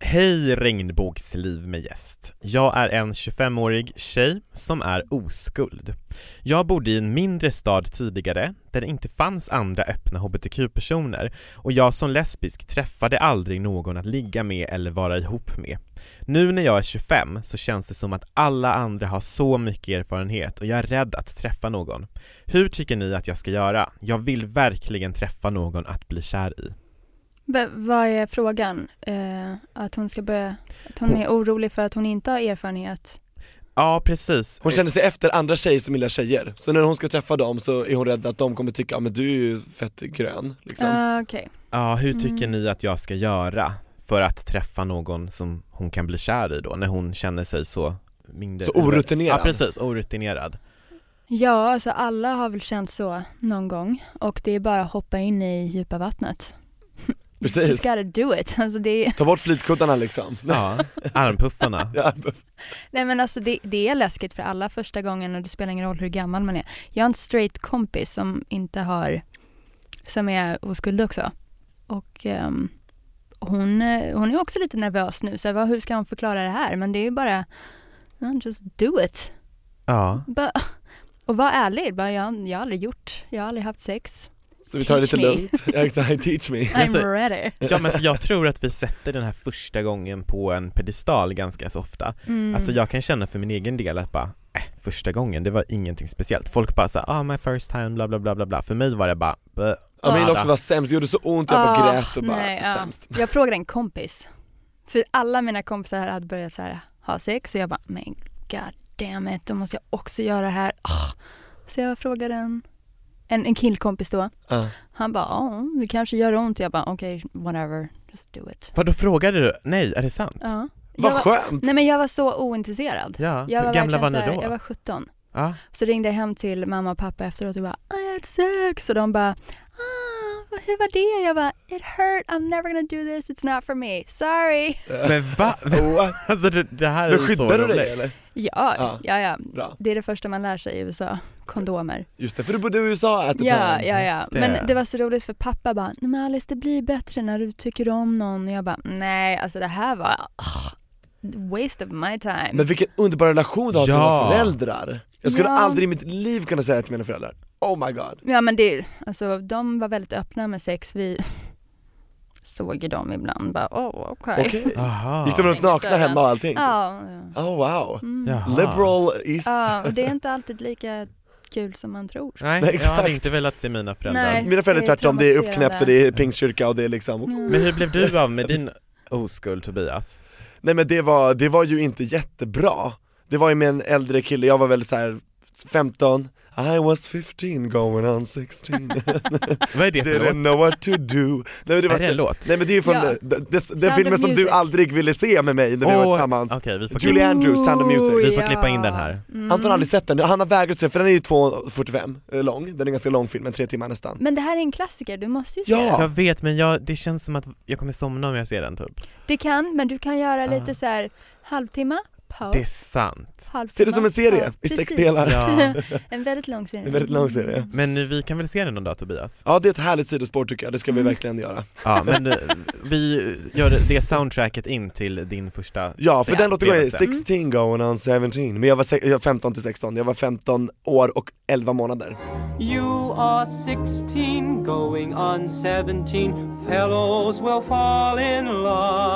Speaker 3: Hej regnbågsliv med gäst. Jag är en 25-årig tjej som är oskuld. Jag bodde i en mindre stad tidigare där det inte fanns andra öppna hbtq-personer och jag som lesbisk träffade aldrig någon att ligga med eller vara ihop med. Nu när jag är 25 så känns det som att alla andra har så mycket erfarenhet och jag är rädd att träffa någon. Hur tycker ni att jag ska göra? Jag vill verkligen träffa någon att bli kär i.
Speaker 2: V- vad är frågan? Eh, att hon ska börja, att hon är orolig för att hon inte har erfarenhet?
Speaker 3: Ja, precis.
Speaker 4: Hon känner sig efter andra tjejer som gillar tjejer. Så när hon ska träffa dem så är hon rädd att de kommer tycka, ja men du är ju fett grön liksom.
Speaker 2: Ah, Okej.
Speaker 3: Ja, hur
Speaker 2: Mm.
Speaker 3: tycker ni att jag ska göra för att träffa någon som hon kan bli kär i då, när hon känner sig så mindre...
Speaker 4: Så orutinerad.
Speaker 3: Ja, precis, orutinerad.
Speaker 2: Ja, alltså alla har väl känt så någon gång och det är bara att hoppa in i djupa vattnet.
Speaker 4: Precis.
Speaker 2: Just gotta do it. Alltså det, är-
Speaker 4: Ta bort flytkuddarna liksom.
Speaker 3: Ja, armpuffarna.
Speaker 4: Ja,
Speaker 2: nej men alltså det, det är läskigt för alla första gången och det spelar ingen roll hur gammal man är. Jag har en straight kompis som inte har, som är oskuld också. Och ehm, hon, eh, hon är också lite nervös nu, så här, vad- hur ska hon förklara det här? Men det är ju bara, yeah, just do it.
Speaker 3: Ja.
Speaker 2: Bara, och var ärlig, bara, jag, jag har aldrig gjort, jag har aldrig haft sex.
Speaker 4: Så vi tar det lite
Speaker 2: Teach me.
Speaker 4: lugnt. Ja, Exakt, teach me.
Speaker 2: I'm
Speaker 3: Alltså,
Speaker 2: ready.
Speaker 3: Ja men så jag tror att vi sätter den här första gången på en pedestal ganska så ofta.
Speaker 2: Mm.
Speaker 3: Alltså jag kan känna för min egen del att bara, eh, första gången, det var ingenting speciellt. Folk bara såhär, ah my first time, bla bla bla bla bla. För mig var det bara, "Bäh."
Speaker 4: Ja, min
Speaker 3: Nada.
Speaker 4: också var sämst, det gjorde så ont, jag bara
Speaker 2: Ah,
Speaker 4: grät och bara
Speaker 2: nej, ja.
Speaker 4: sämst.
Speaker 2: Jag frågade en kompis, för alla mina kompisar här hade börjat så här, ha sex och jag bara, men god damn it, då måste jag också göra det här. Ah. Så jag frågade en, en, en killkompis då,
Speaker 4: Ja.
Speaker 2: han bara, ja det kanske gör ont. Jag bara, okej, whatever, just do it.
Speaker 3: Vadå frågade du? Nej, är det sant?
Speaker 2: Ja.
Speaker 4: Vad
Speaker 2: jag var,
Speaker 4: skönt!
Speaker 2: nej men jag var så ointresserad.
Speaker 3: Ja,
Speaker 2: Jag
Speaker 3: hur
Speaker 2: var
Speaker 3: gamla
Speaker 2: verkligen så
Speaker 3: var ni
Speaker 2: här,
Speaker 3: då?
Speaker 2: Jag var 17.
Speaker 3: Ja.
Speaker 2: Så ringde jag hem till mamma och pappa efteråt och bara "Ah, I had sex och de bara ah, vad- hur var det? Jag bara it hurt, I'm never gonna do this, it's not for me, sorry.
Speaker 3: Men va? alltså det, det här
Speaker 4: Men
Speaker 3: är ju så
Speaker 4: skyddar du
Speaker 3: roligt.
Speaker 4: dig eller?
Speaker 2: Ja,
Speaker 4: Ja.
Speaker 2: ja, ja.
Speaker 4: Bra.
Speaker 2: Det är det första man lär sig i USA, kondomer.
Speaker 4: Just det, för du bodde i USA at the
Speaker 2: Ja,
Speaker 4: time.
Speaker 2: ja, ja.
Speaker 3: Just det.
Speaker 2: Men det var så roligt för pappa bara, nej men Alice det blir bättre när du tycker om någon. Och jag bara, nej alltså det här var, ah, waste of my time.
Speaker 4: Men vilken underbar relation du har till
Speaker 3: Ja.
Speaker 4: dina föräldrar! Jag skulle
Speaker 2: Ja.
Speaker 4: aldrig i mitt liv kunna säga det till mina föräldrar. Oh my god.
Speaker 2: Ja men det, alltså de var väldigt öppna med sex, vi såg ju dem ibland bara, oh okej.
Speaker 4: Okej.
Speaker 3: Aha.
Speaker 4: Gick de runt nakna hemma och allting?
Speaker 2: Ja, Mm. ja.
Speaker 4: Oh wow.
Speaker 3: Jaha. Ah.
Speaker 4: Liberal is...
Speaker 2: ja, och det är inte alltid lika kul som man tror.
Speaker 3: Nej,
Speaker 4: Nej,
Speaker 3: jag hade
Speaker 4: exakt.
Speaker 3: inte velat se mina föräldrar.
Speaker 2: Nej.
Speaker 4: Mina föräldrar
Speaker 2: Det är
Speaker 4: tvärtom, det är
Speaker 2: traumatiserande. Mm.
Speaker 4: uppknäppt och det är pingstkyrka och det är liksom
Speaker 3: Men hur blev du av med din oskuld Tobias?
Speaker 4: Nej men det var, det var ju inte jättebra. Det var ju med en äldre kille, jag var väl så här 15, I was 15 going on 16,
Speaker 3: Vad är det för
Speaker 4: didn't
Speaker 3: låt?
Speaker 4: know what to do. Nej, det
Speaker 3: Är det en låt?
Speaker 4: Nej men det är ju från
Speaker 2: Ja.
Speaker 4: den- den- den
Speaker 2: of
Speaker 4: filmen som du
Speaker 2: Music.
Speaker 4: aldrig ville se med mig när vi var
Speaker 3: Åh,
Speaker 4: tillsammans.
Speaker 3: Okej, vi, får
Speaker 4: Julie
Speaker 3: klippa-
Speaker 4: Andrews, Sound of Music.
Speaker 3: vi får klippa in den här.
Speaker 4: Anton har aldrig sett den, han har vägrat se för den är ju 2.45 eh, lång, den är ganska lång filmen, tre timmar nästan.
Speaker 2: Men det här är en klassiker, du måste ju se
Speaker 4: Ja.
Speaker 3: Jag vet men jag, det känns som att jag kommer somna om jag ser den typ.
Speaker 2: Det kan, men du kan göra
Speaker 4: Ah.
Speaker 2: lite så här halvtimme, paus,
Speaker 3: Det är sant.
Speaker 2: halvtimme.
Speaker 4: Ser det som en serie
Speaker 2: paus.
Speaker 4: i sex
Speaker 2: Precis.
Speaker 4: delar.
Speaker 3: Ja.
Speaker 2: en väldigt lång serie.
Speaker 4: Det är en väldigt lång serie.
Speaker 3: Men nu, vi kan väl se den någon dag Tobias?
Speaker 4: Ja det är ett härligt sidospår tycker jag, det ska vi verkligen göra.
Speaker 3: Ja men eh, vi gör det soundtracket in till din första
Speaker 4: Ja, för den låten går ju
Speaker 3: sexupplevelse.
Speaker 4: 16 going on 17, men jag var, se- jag var 15 till 16, jag var 15 år och 11 månader.
Speaker 5: You are 16, going on 17. Fellows will fall in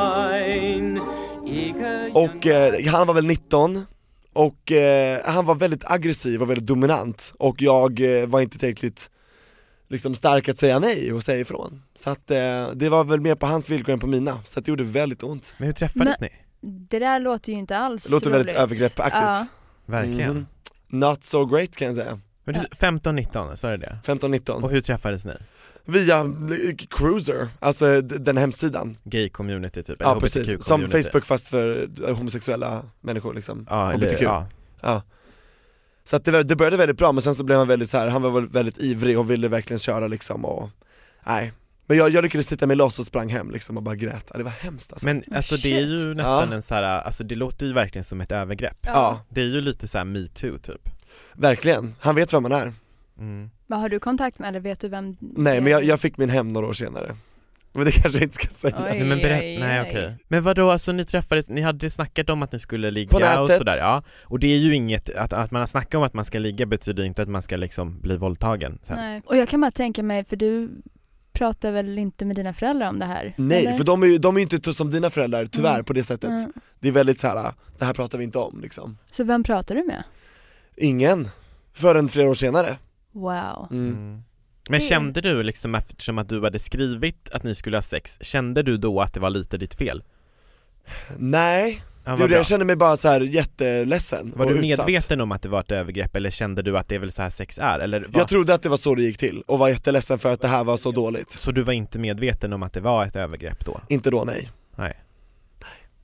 Speaker 5: line. Eager
Speaker 4: Och eh, han var väl 19, och eh, han var väldigt aggressiv och väldigt dominant, och jag eh, var inte tillräckligt liksom stark att säga nej och säga ifrån. Så att eh, det var väl mer på hans villkor än på mina, så att det gjorde väldigt ont.
Speaker 3: Men hur träffades ni?
Speaker 2: Det där låter ju inte alls
Speaker 4: Det låter väldigt
Speaker 2: roligt.
Speaker 4: övergreppaktigt.
Speaker 2: Ja.
Speaker 3: Verkligen?
Speaker 4: Mhm. Not so great kan jag säga,
Speaker 3: Men du, 15-19, sa du det?
Speaker 4: 15-19.
Speaker 3: Och hur träffades ni?
Speaker 4: Via eh, Cruiser, alltså d- den hemsidan.
Speaker 3: Gay-community typ?
Speaker 4: Ja
Speaker 3: eller
Speaker 4: precis,
Speaker 3: HBTQ
Speaker 4: som
Speaker 3: community?
Speaker 4: Facebook fast för eh, homosexuella människor liksom,
Speaker 3: Ja, eller,
Speaker 4: HBTQ.
Speaker 3: ja.
Speaker 4: Ja. Så att det, var- det började väldigt bra men sen så blev han väldigt så här, han var väl väldigt ivrig och ville verkligen köra liksom och, nej. Men jag, jag lyckades sitta mig loss och sprang hem liksom och bara grät, ja, det var hemskt alltså.
Speaker 3: Men alltså det är ju nästan
Speaker 4: Ja.
Speaker 3: en så här, alltså det låter ju verkligen som ett övergrepp.
Speaker 4: Ja,
Speaker 3: Det är ju lite så här metoo typ.
Speaker 4: verkligen. Han vet vem man är.
Speaker 3: Mm.
Speaker 2: Vad har du kontakt med eller vet du vem?
Speaker 4: Nej men jag, jag fick min hem några år senare. Men det kanske jag inte ska säga.
Speaker 2: Oj,
Speaker 3: Nej, men berätt,
Speaker 2: oj,
Speaker 3: nej
Speaker 2: oj.
Speaker 3: okej. Men vadå, alltså ni träffades, ni hade snackat om att ni skulle
Speaker 4: På
Speaker 3: ligga
Speaker 4: nätet.
Speaker 3: och sådär ja. Och det är ju inget, att, att man har snackat om att man ska ligga betyder inte att man ska liksom bli våldtagen sen.
Speaker 2: Nej. Och jag kan bara tänka mig, för du pratar väl inte med dina föräldrar om det här?
Speaker 4: Nej,
Speaker 2: eller?
Speaker 4: för de är ju de är ju inte som dina föräldrar tyvärr
Speaker 2: Mm.
Speaker 4: på det sättet.
Speaker 2: Mm.
Speaker 4: Det är väldigt så här. det här pratar vi inte om liksom.
Speaker 2: Så vem pratar du med?
Speaker 4: Ingen, förrän flera år senare.
Speaker 2: Wow.
Speaker 4: Mm.
Speaker 3: Mm. Men
Speaker 2: Det-
Speaker 3: kände du liksom eftersom att du hade skrivit att ni skulle ha sex, kände du då att det var lite ditt fel?
Speaker 4: Nej,
Speaker 3: Ja,
Speaker 4: Det
Speaker 3: vad
Speaker 4: gjorde
Speaker 3: bra.
Speaker 4: jag, jag kände mig bara så här jätteledsen
Speaker 3: Var
Speaker 4: och
Speaker 3: du
Speaker 4: utsatt.
Speaker 3: medveten om att det var ett övergrepp eller kände du att det är väl så här sex är? Eller var...
Speaker 4: Jag trodde att det var så det gick till och var jätteledsen för att det här var så dåligt.
Speaker 3: Så du var inte medveten om att det var ett övergrepp då?
Speaker 4: Inte då, nej.
Speaker 3: Nej.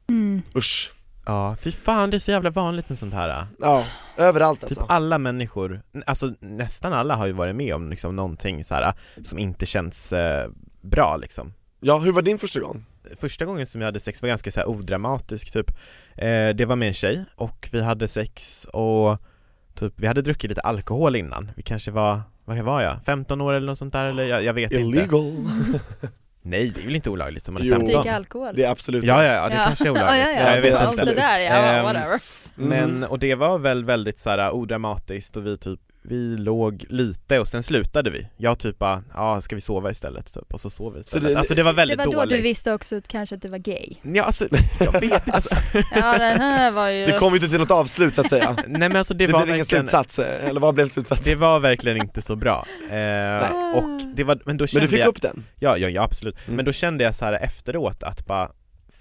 Speaker 2: Mm.
Speaker 4: Usch.
Speaker 3: Ja, fy fan det är så jävla vanligt med sånt här.
Speaker 4: Ja, överallt
Speaker 3: Typ
Speaker 4: alltså.
Speaker 3: alla människor, alltså nästan alla har ju varit med om liksom någonting så här som inte känns eh, bra liksom.
Speaker 4: Ja, hur var din första gång?
Speaker 3: första gången som jag hade sex var ganska så här odramatisk typ eh, Det var med en tjej och vi hade sex och typ, vi hade druckit lite alkohol innan Vi kanske var, vad var jag? 15 år eller något sånt där eller jag, jag vet inte
Speaker 4: Illegal.
Speaker 3: Nej det är väl inte olagligt som man är
Speaker 4: Jo.
Speaker 3: 15?
Speaker 2: Dricka alkohol?
Speaker 4: Det är absolut
Speaker 3: Ja, ja, ja, det
Speaker 2: Ja.
Speaker 3: kanske är olagligt.
Speaker 2: ja, ja,
Speaker 4: Ja,
Speaker 2: ja.
Speaker 3: jag
Speaker 4: det är
Speaker 3: vet
Speaker 2: Allt
Speaker 3: inte.
Speaker 2: det där, ja,
Speaker 3: Ehm,
Speaker 2: whatever.
Speaker 4: Mm.
Speaker 3: Men, och det var väl väldigt så här odramatiskt och vi typ vi låg lite och sen slutade vi. Jag typ bara, ja ska vi sova istället? Typ. Och så sov vi istället.
Speaker 4: det-
Speaker 3: alltså det var
Speaker 2: Det
Speaker 3: väldigt
Speaker 2: var då
Speaker 3: dåligt.
Speaker 2: du visste också att kanske att du var gay.
Speaker 3: Ja alltså, jag vet alltså,
Speaker 2: Ja det här var ju...
Speaker 4: Det kom ju inte till något avslut så att säga.
Speaker 3: nej men alltså det,
Speaker 4: Det,
Speaker 3: var
Speaker 4: blev ingen
Speaker 3: verkligen,
Speaker 4: slutsats, eh, eller vad blev slutsatsen?
Speaker 3: det var verkligen inte så bra. Eh, och det var, men då
Speaker 4: Men
Speaker 3: kände
Speaker 4: du fick
Speaker 3: jag,
Speaker 4: upp den?
Speaker 3: ja, ja, ja absolut,
Speaker 4: Mm.
Speaker 3: men då kände jag så här efteråt att bara,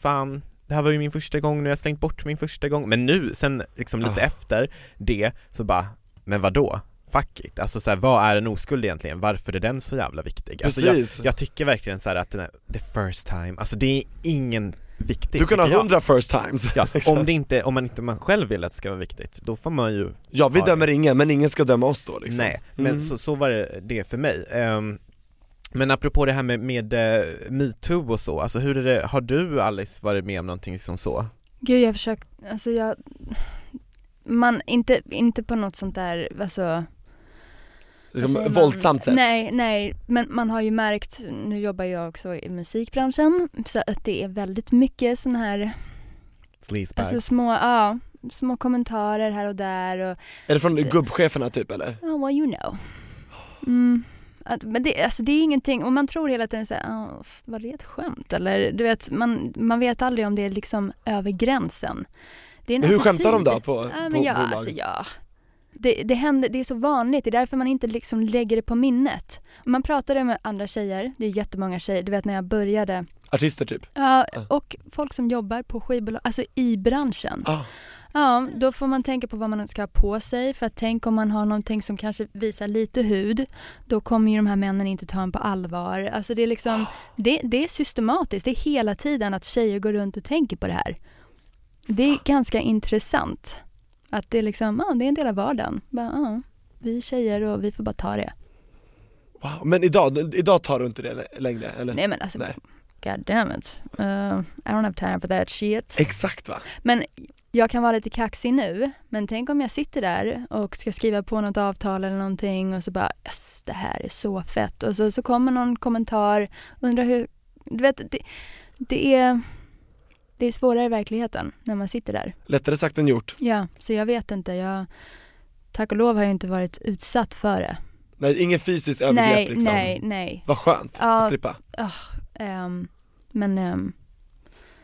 Speaker 3: fan det här var ju min första gång, nu har jag slängt bort min första gång, men nu sen liksom lite
Speaker 4: Ah.
Speaker 3: efter det så bara, men vadå? Fuck it, alltså så här, vad är en oskuld egentligen? Varför är den så jävla viktig? Alltså, jag,
Speaker 4: Precis.
Speaker 3: jag tycker verkligen så här att den här, the first time, alltså det är ingen viktigt
Speaker 4: Du kan ha
Speaker 3: tycker jag.
Speaker 4: hundra first times.
Speaker 3: Ja, om, det inte, om man inte man själv vill att det ska vara viktigt, då får man ju
Speaker 4: Ja, vi
Speaker 3: Ja,
Speaker 4: dömer ingen, men ingen ska döma oss då liksom.
Speaker 3: Nej, men
Speaker 4: Mm.
Speaker 3: så, så var det, det för mig. Ehm, men apropå det här med, med eh, metoo och så, alltså hur är det, har du Alice varit med om någonting som så?
Speaker 2: Gud jag har försökt, alltså jag, man, inte, inte på något sånt där, alltså
Speaker 4: Liksom,
Speaker 2: Vad säger man?
Speaker 4: våldsamt sätt.
Speaker 2: Alltså, Nej, nej, men man har ju märkt, nu jobbar jag också i musikbranschen, så att det är väldigt mycket sån här, alltså
Speaker 3: Sleazebags?
Speaker 2: små, ja, små kommentarer här och där och
Speaker 4: Är det från gubbcheferna typ eller?
Speaker 2: ja, Oh, well you know. Mm. Att, men det, alltså det är ingenting, och man tror hela tiden såhär, oh, var det ett skämt eller? Du vet, man, man vet aldrig om det är liksom över gränsen. Det är en
Speaker 4: Hur skämtar de
Speaker 2: attityd.
Speaker 4: då på,
Speaker 2: Ja,
Speaker 4: på
Speaker 2: men ja,
Speaker 4: bolag?
Speaker 2: alltså ja. Det, det, händer, det är så vanligt, det är därför man inte liksom lägger det på minnet. Man pratade med andra tjejer, det är jättemånga tjejer, du vet när jag började,
Speaker 4: Artister typ?
Speaker 2: ja, och folk som jobbar på skivbolag, alltså i branschen.
Speaker 4: Ah.
Speaker 2: Ja, då får man tänka på vad man ska ha på sig, för att tänk om man har någonting som kanske visar lite hud, då kommer ju de här männen inte ta en på allvar. Alltså det är liksom, det, det är systematiskt, det är hela tiden att tjejer går runt och tänker på det här. Det är ganska intressant. Att det är liksom, ja, det är en del av vardagen. Bara, ja, vi är tjejer och vi får bara ta det.
Speaker 4: Ah, Wow. Men idag, idag tar du inte det längre eller?
Speaker 2: Nej men alltså,
Speaker 4: Nej.
Speaker 2: god damn it. Uh, I don't have time for that shit.
Speaker 4: Exakt va?
Speaker 2: Men jag kan vara lite kaxig nu, men tänk om jag sitter där och ska skriva på något avtal eller någonting och så bara yes, det här är så fett och så, så kommer någon kommentar, undrar hur, du vet, det, det är det är svårare i verkligheten när man sitter där.
Speaker 4: Lättare sagt än gjort.
Speaker 2: Ja, så jag vet inte, jag tack och lov har jag inte varit utsatt för det.
Speaker 4: Nej, ingen fysiskt övergrepp
Speaker 2: nej,
Speaker 4: liksom.
Speaker 2: nej, nej,
Speaker 4: Vad skönt
Speaker 2: Ja.
Speaker 4: att slippa.
Speaker 2: Ehm, men ehm,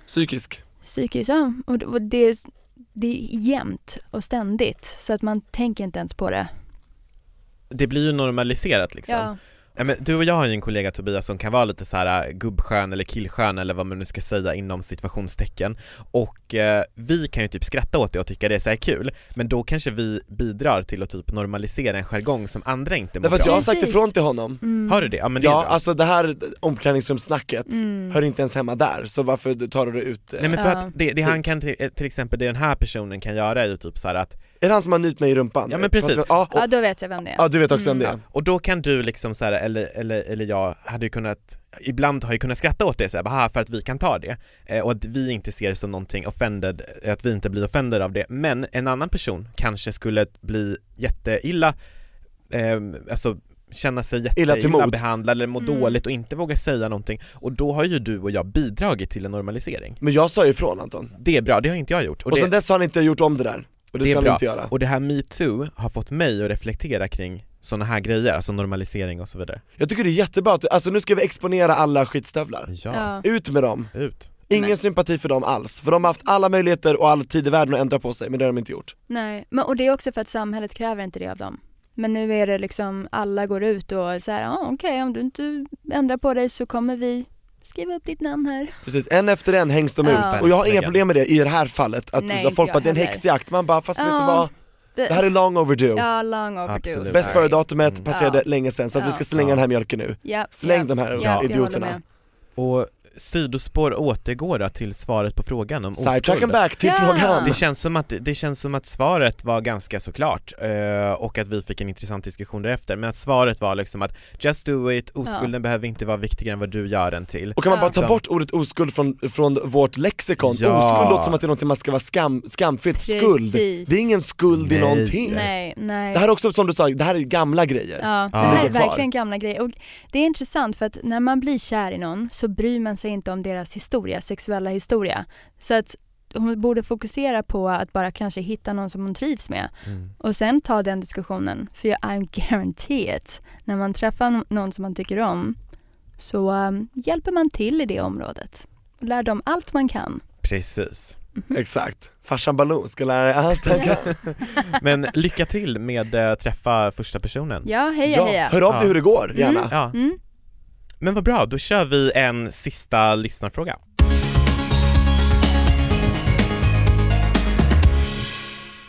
Speaker 4: Psykisk.
Speaker 2: psykiskt, ja. Och, och det, det är jämnt och ständigt så att man tänker inte ens på det.
Speaker 3: Det blir ju normaliserat liksom.
Speaker 2: Ja.
Speaker 3: Nej, men du och jag har ju en kollega Tobias som kan vara lite så här äh, gubbskön eller killskön eller vad man nu ska säga inom situationstecken och eh, vi kan ju typ skratta åt det och tycka det är så här kul men då kanske vi bidrar till att typ normalisera en jargong som andra inte mår
Speaker 4: Därför att jag
Speaker 3: bra
Speaker 4: har
Speaker 3: av.
Speaker 4: sagt
Speaker 2: Precis.
Speaker 4: ifrån till honom.
Speaker 2: Mm.
Speaker 3: Har du det? Ja men det är
Speaker 4: Ja,
Speaker 3: bra.
Speaker 4: alltså det här omklädningsrumssnacket
Speaker 2: Mm.
Speaker 4: hör inte ens hemma där, så varför tar du det ut? eh?
Speaker 3: Nej men för
Speaker 2: Ja.
Speaker 3: att det, det han kan till, till exempel, det den här personen kan göra är ju typ så här att,
Speaker 4: Är det han som har nypt mig i rumpan?
Speaker 3: Ja, men precis.
Speaker 4: Ja,
Speaker 2: Ja, då vet jag vem det Mm. är.
Speaker 4: ja, du vet också om det
Speaker 3: ja, och då kan du liksom så här, eller, eller, eller jag hade ju kunnat, ibland har jag kunnat skratta åt det så här, bara, för att vi kan ta det eh, och att vi inte ser det som någonting offended, eh, att vi inte blir offended av det, men en annan person kanske skulle bli jätteilla, eh, alltså känna sig
Speaker 4: Illa till
Speaker 3: jätteilla
Speaker 4: mods.
Speaker 3: behandlad eller må
Speaker 2: Mm.
Speaker 3: dåligt och inte våga säga någonting och då har ju du och jag bidragit till en normalisering.
Speaker 4: Men jag sa ju ifrån Anton,
Speaker 3: Det är bra, det har inte jag gjort.
Speaker 4: och,
Speaker 3: det,
Speaker 4: sen dess har han inte gjort om det där, och det,
Speaker 3: Det är
Speaker 4: ska
Speaker 3: bra.
Speaker 4: han inte göra
Speaker 3: Och det här metoo har fått mig att reflektera kring sådana här grejer, alltså normalisering och så vidare.
Speaker 4: Jag tycker det är jättebra att, alltså nu ska vi exponera alla skitstövlar
Speaker 3: Ja,
Speaker 4: Ut med dem,
Speaker 3: ut.
Speaker 4: ingen
Speaker 2: Men-
Speaker 4: sympati för dem alls, för de har haft alla möjligheter och all tid i världen att ändra på sig, men det har de inte gjort
Speaker 2: Nej, men, och det är också för att samhället kräver inte det av dem. Men nu är det liksom, alla går ut och så här, ja okej om du inte ändrar på dig så kommer vi skriva upp ditt namn här.
Speaker 4: Precis, en efter en hängs de
Speaker 2: Ja.
Speaker 4: ut, och jag har inga
Speaker 3: Verkligen.
Speaker 4: problem med det i det här fallet, att
Speaker 2: Nej,
Speaker 4: Nej,
Speaker 2: inte
Speaker 4: folk
Speaker 2: jag
Speaker 4: bara det är en
Speaker 2: heller.
Speaker 4: häxjakt, man bara fast vet du
Speaker 2: Ja.
Speaker 4: vad, det här är long overdue
Speaker 2: Ja, long overdue.
Speaker 3: Absolut.
Speaker 2: sorry.
Speaker 4: Bäst före datumet
Speaker 3: Mm.
Speaker 4: passerade
Speaker 2: Ja.
Speaker 4: länge sen, så att vi
Speaker 2: Ja.
Speaker 4: ska
Speaker 3: Ja.
Speaker 4: slänga den här mjölken nu
Speaker 2: Ja,
Speaker 4: Släng
Speaker 2: ja.
Speaker 4: de här
Speaker 2: Ja, jag håller
Speaker 4: idioterna
Speaker 2: med.
Speaker 3: Och sidospår återgår då till svaret på frågan om
Speaker 4: Sidetracken
Speaker 3: oskuld.
Speaker 4: back till
Speaker 2: Ja.
Speaker 4: frågan!
Speaker 3: Det känns, som att, det känns som att svaret var ganska såklart eh, och att vi fick en intressant diskussion därefter men att svaret var liksom att just do it, oskulden behöver inte vara viktigare än vad du gör den till.
Speaker 4: Och kan man
Speaker 2: Ja.
Speaker 4: bara ta
Speaker 3: Som-
Speaker 4: bort ordet oskuld från, från vårt lexikon?
Speaker 3: Ja.
Speaker 4: Oskuld låter som att det är något man ska vara skam, skamfyllt,
Speaker 2: Precis.
Speaker 4: skuld. Det är ingen skuld i
Speaker 3: Nej.
Speaker 4: någonting.
Speaker 2: Nej, nej.
Speaker 4: Det här är också som du sa, det här är gamla grejer.
Speaker 2: Ja, så
Speaker 3: Som
Speaker 2: det här är
Speaker 4: ligger kvar.
Speaker 2: verkligen gamla grejer. Och det är intressant för att när man blir kär i någon så bryr man sig inte om deras historia, sexuella historia. Så att hon borde fokusera på att bara kanske hitta någon som hon trivs med och sen ta den diskussionen. För jag I guarantee it, när man träffar no- någon som man tycker om så um, hjälper man till i det området och lär dem allt man kan.
Speaker 3: Precis.
Speaker 4: Exakt. Farsan Baloo ska lära dig allt han kan.
Speaker 3: Men lycka till med eh, träffa första personen.
Speaker 2: Ja, heja heja.
Speaker 4: Hör av dig
Speaker 3: Ja.
Speaker 4: hur det går, gärna.
Speaker 3: Ja.
Speaker 2: Mm.
Speaker 3: Men vad bra, då kör vi en sista lyssnarfråga.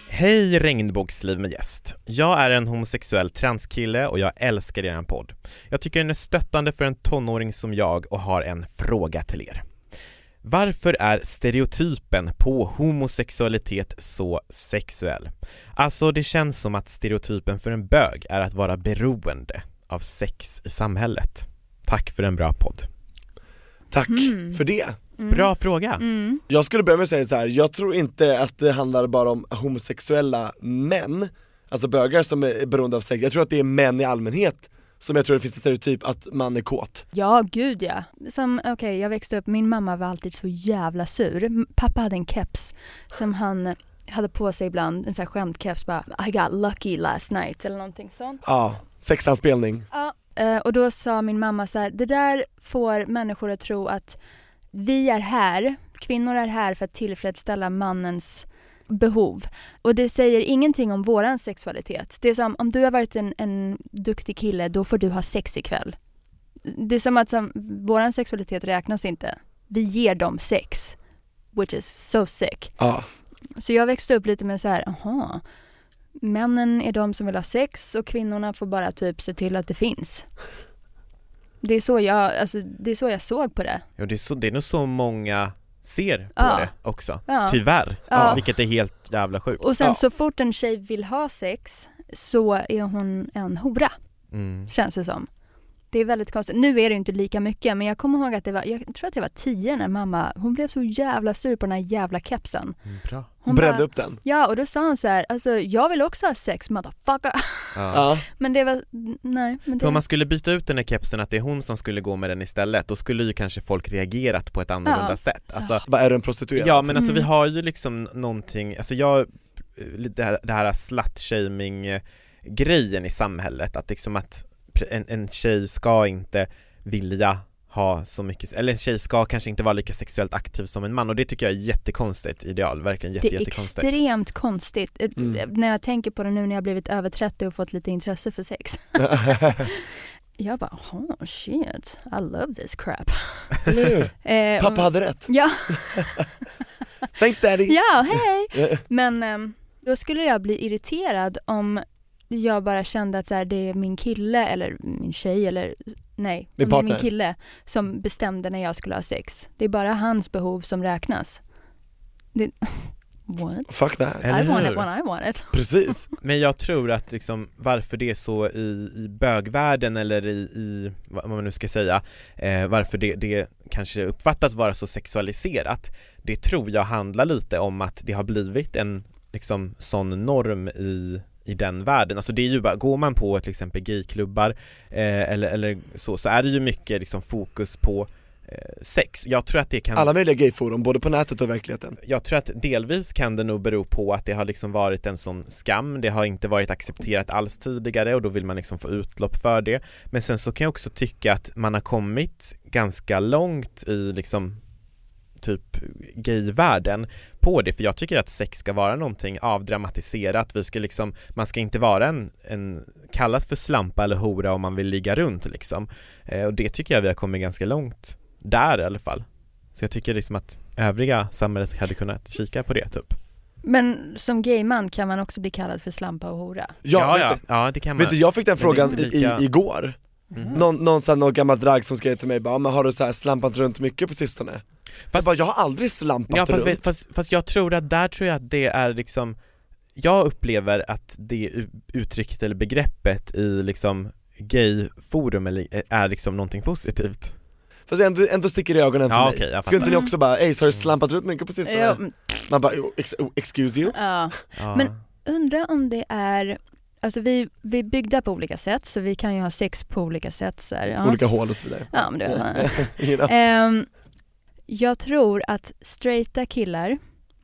Speaker 3: Hej Regnbågsliv med gäst. Jag är en homosexuell transkille och jag älskar er podd. Jag tycker den är stöttande för en tonåring som jag och har en fråga till er. Varför är stereotypen på homosexualitet så sexuell? Alltså det känns som att stereotypen för en bög är att vara beroende av sex i samhället. Tack för en bra podd.
Speaker 4: Tack
Speaker 2: Mm.
Speaker 4: för det.
Speaker 3: Bra fråga.
Speaker 4: Jag skulle börja med att säga så här. jag tror inte att det handlar bara om homosexuella män, alltså bögar som är beroende av sex. Jag tror att det är män i allmänhet som jag tror det finns en stereotyp att man är kåt.
Speaker 2: Ja, gud ja. Som, okej, jag växte upp, min mamma var alltid så jävla sur. M- Pappa hade en keps som han hade på sig ibland, en sån här skämtkeps bara I got lucky last night eller någonting sånt.
Speaker 4: Ja, sexanspelning.
Speaker 2: Ja. eh, Och då sa min mamma så här, det där får människor att tro att vi är här, kvinnor är här för att tillfredsställa mannens behov. Och det säger ingenting om våran sexualitet. Det är som om du har varit en, en duktig kille, då får du ha sex ikväll. Det är som att som, våran sexualitet räknas inte. Vi ger dem sex, which is so sick.
Speaker 4: Ja.
Speaker 2: Så jag växte upp lite med så här, aha, männen är de som vill ha sex och kvinnorna får bara typ se till att det finns. Det är så jag, alltså, det är så jag såg på det.
Speaker 3: Ja, det, är så, det är nog så många ser på
Speaker 2: Ja.
Speaker 3: det också.
Speaker 2: Ja.
Speaker 3: Tyvärr.
Speaker 2: Ja.
Speaker 3: Vilket är helt jävla sjukt.
Speaker 2: Och sen
Speaker 4: Typ,
Speaker 2: så
Speaker 4: Ja.
Speaker 2: fort en tjej vill ha sex så är hon en hora,
Speaker 3: Mm.
Speaker 2: känns det som. Det är väldigt konstigt. Nu är det ju inte lika mycket men jag kommer ihåg att det var, jag tror att jag var tio när mamma, hon blev så jävla sur på den här jävla kepsen.
Speaker 3: Bra.
Speaker 2: Hon
Speaker 4: Brände
Speaker 2: bara-
Speaker 4: upp den.
Speaker 2: Ja och då sa hon så här, alltså jag vill också ha sex motherfucker.
Speaker 3: Ja.
Speaker 4: Ja.
Speaker 2: Men det var, nej. Men
Speaker 3: För
Speaker 2: det,
Speaker 3: om man skulle byta ut den här kepsen att det är hon som skulle gå med den istället, då skulle ju kanske folk reagerat på ett annorlunda
Speaker 2: Ja.
Speaker 3: sätt. Alltså,
Speaker 4: Vad är du en prostituerad?
Speaker 3: Ja men alltså
Speaker 2: Mm.
Speaker 3: vi har ju liksom någonting, alltså jag, det här, det här slut-shaming grejen i samhället, att liksom att pr- en, en tjej ska inte vilja ha så mycket, eller en tjej ska kanske inte vara lika sexuellt aktiv som en man och det tycker jag är jättekonstigt ideal, verkligen jätte,
Speaker 2: det är
Speaker 3: jättekonstigt.
Speaker 2: extremt konstigt. Eh,
Speaker 4: Mm.
Speaker 2: När jag tänker på det nu när jag blivit över 30 och fått lite intresse för sex. jag bara, oh shit, I love this crap.
Speaker 4: Eller hur?
Speaker 2: Eh,
Speaker 4: Pappa hade rätt.
Speaker 2: Ja,
Speaker 4: Thanks daddy!
Speaker 2: ja hej! Men ehm, då skulle jag bli irriterad om jag bara kände att så här, det är min kille eller min tjej eller nej,
Speaker 4: Din
Speaker 2: om det är
Speaker 4: partner.
Speaker 2: min kille som bestämde när jag skulle ha sex. Det är bara hans behov som räknas. Det, what?
Speaker 4: Fuck that.
Speaker 3: Eller
Speaker 2: I want
Speaker 3: hur?
Speaker 2: it when I want it.
Speaker 4: Precis.
Speaker 3: Men jag tror att liksom varför det är så i, i bögvärlden eller i, i, vad man nu ska säga, eh, varför det, det kanske uppfattas vara så sexualiserat, det tror jag handlar lite om att det har blivit en liksom sån norm i i den världen, alltså det är ju bara, går man på till exempel gayklubbar eh, eller, eller så, så är det ju mycket liksom fokus på eh, sex. Jag tror att det kan
Speaker 4: Alla möjliga gayforum, både på nätet och i verkligheten.
Speaker 3: jag tror att delvis kan det nog bero på att det har liksom varit en sån skam, det har inte varit accepterat alls tidigare och då vill man liksom få utlopp för det. Men sen så kan jag också tycka att man har kommit ganska långt i liksom typ gayvärlden på det, för jag tycker att sex ska vara någonting avdramatiserat, vi ska liksom, man ska inte vara en, en kallas för slampa eller hora om man vill ligga runt liksom. Eh, och det tycker jag vi har kommit ganska långt där i alla fall. Så jag tycker liksom att övriga samhället hade kunnat kika på det typ.
Speaker 2: Men som gayman kan man också bli kallad för slampa och hora.
Speaker 3: ja,
Speaker 4: vet-
Speaker 3: ja, ja, det kan man.
Speaker 4: Vet du, jag fick den
Speaker 3: Men det är
Speaker 4: frågan
Speaker 3: inte
Speaker 4: i,
Speaker 3: lika- Mhm.
Speaker 4: i, igår. Någon, någon, sån här, någon gammal drag som skrev till mig bara, men har du så här slampat runt mycket på sistone? jag
Speaker 3: Fast-
Speaker 4: bara, jag har aldrig slampat
Speaker 3: ja, fast,
Speaker 4: runt.
Speaker 3: vet- fast, fast jag tror att där tror jag att det är liksom, jag upplever att det u- uttrycket eller begreppet i liksom gayforum eller- är liksom någonting positivt.
Speaker 4: Fast ändå, ändå sticker det i ögonen för
Speaker 3: Ja,
Speaker 4: mig.
Speaker 3: okej, jag
Speaker 4: Skulle inte ni
Speaker 2: fattar.
Speaker 4: också bara, Ace har du slampat runt mycket på sistone?
Speaker 2: Mm. Ja, mm,
Speaker 4: Man bara, "Oh, ex oh, excuse you?
Speaker 2: ja.
Speaker 3: Ja.
Speaker 2: Men- Undrar om det är, alltså vi, vi är byggda på olika sätt så vi kan ju ha sex på olika sätt. Så här, ja. Mm.
Speaker 4: Olika hål och så vidare.
Speaker 2: Ja, men du vet.
Speaker 4: You know?
Speaker 2: Ehm, jag tror att straighta killar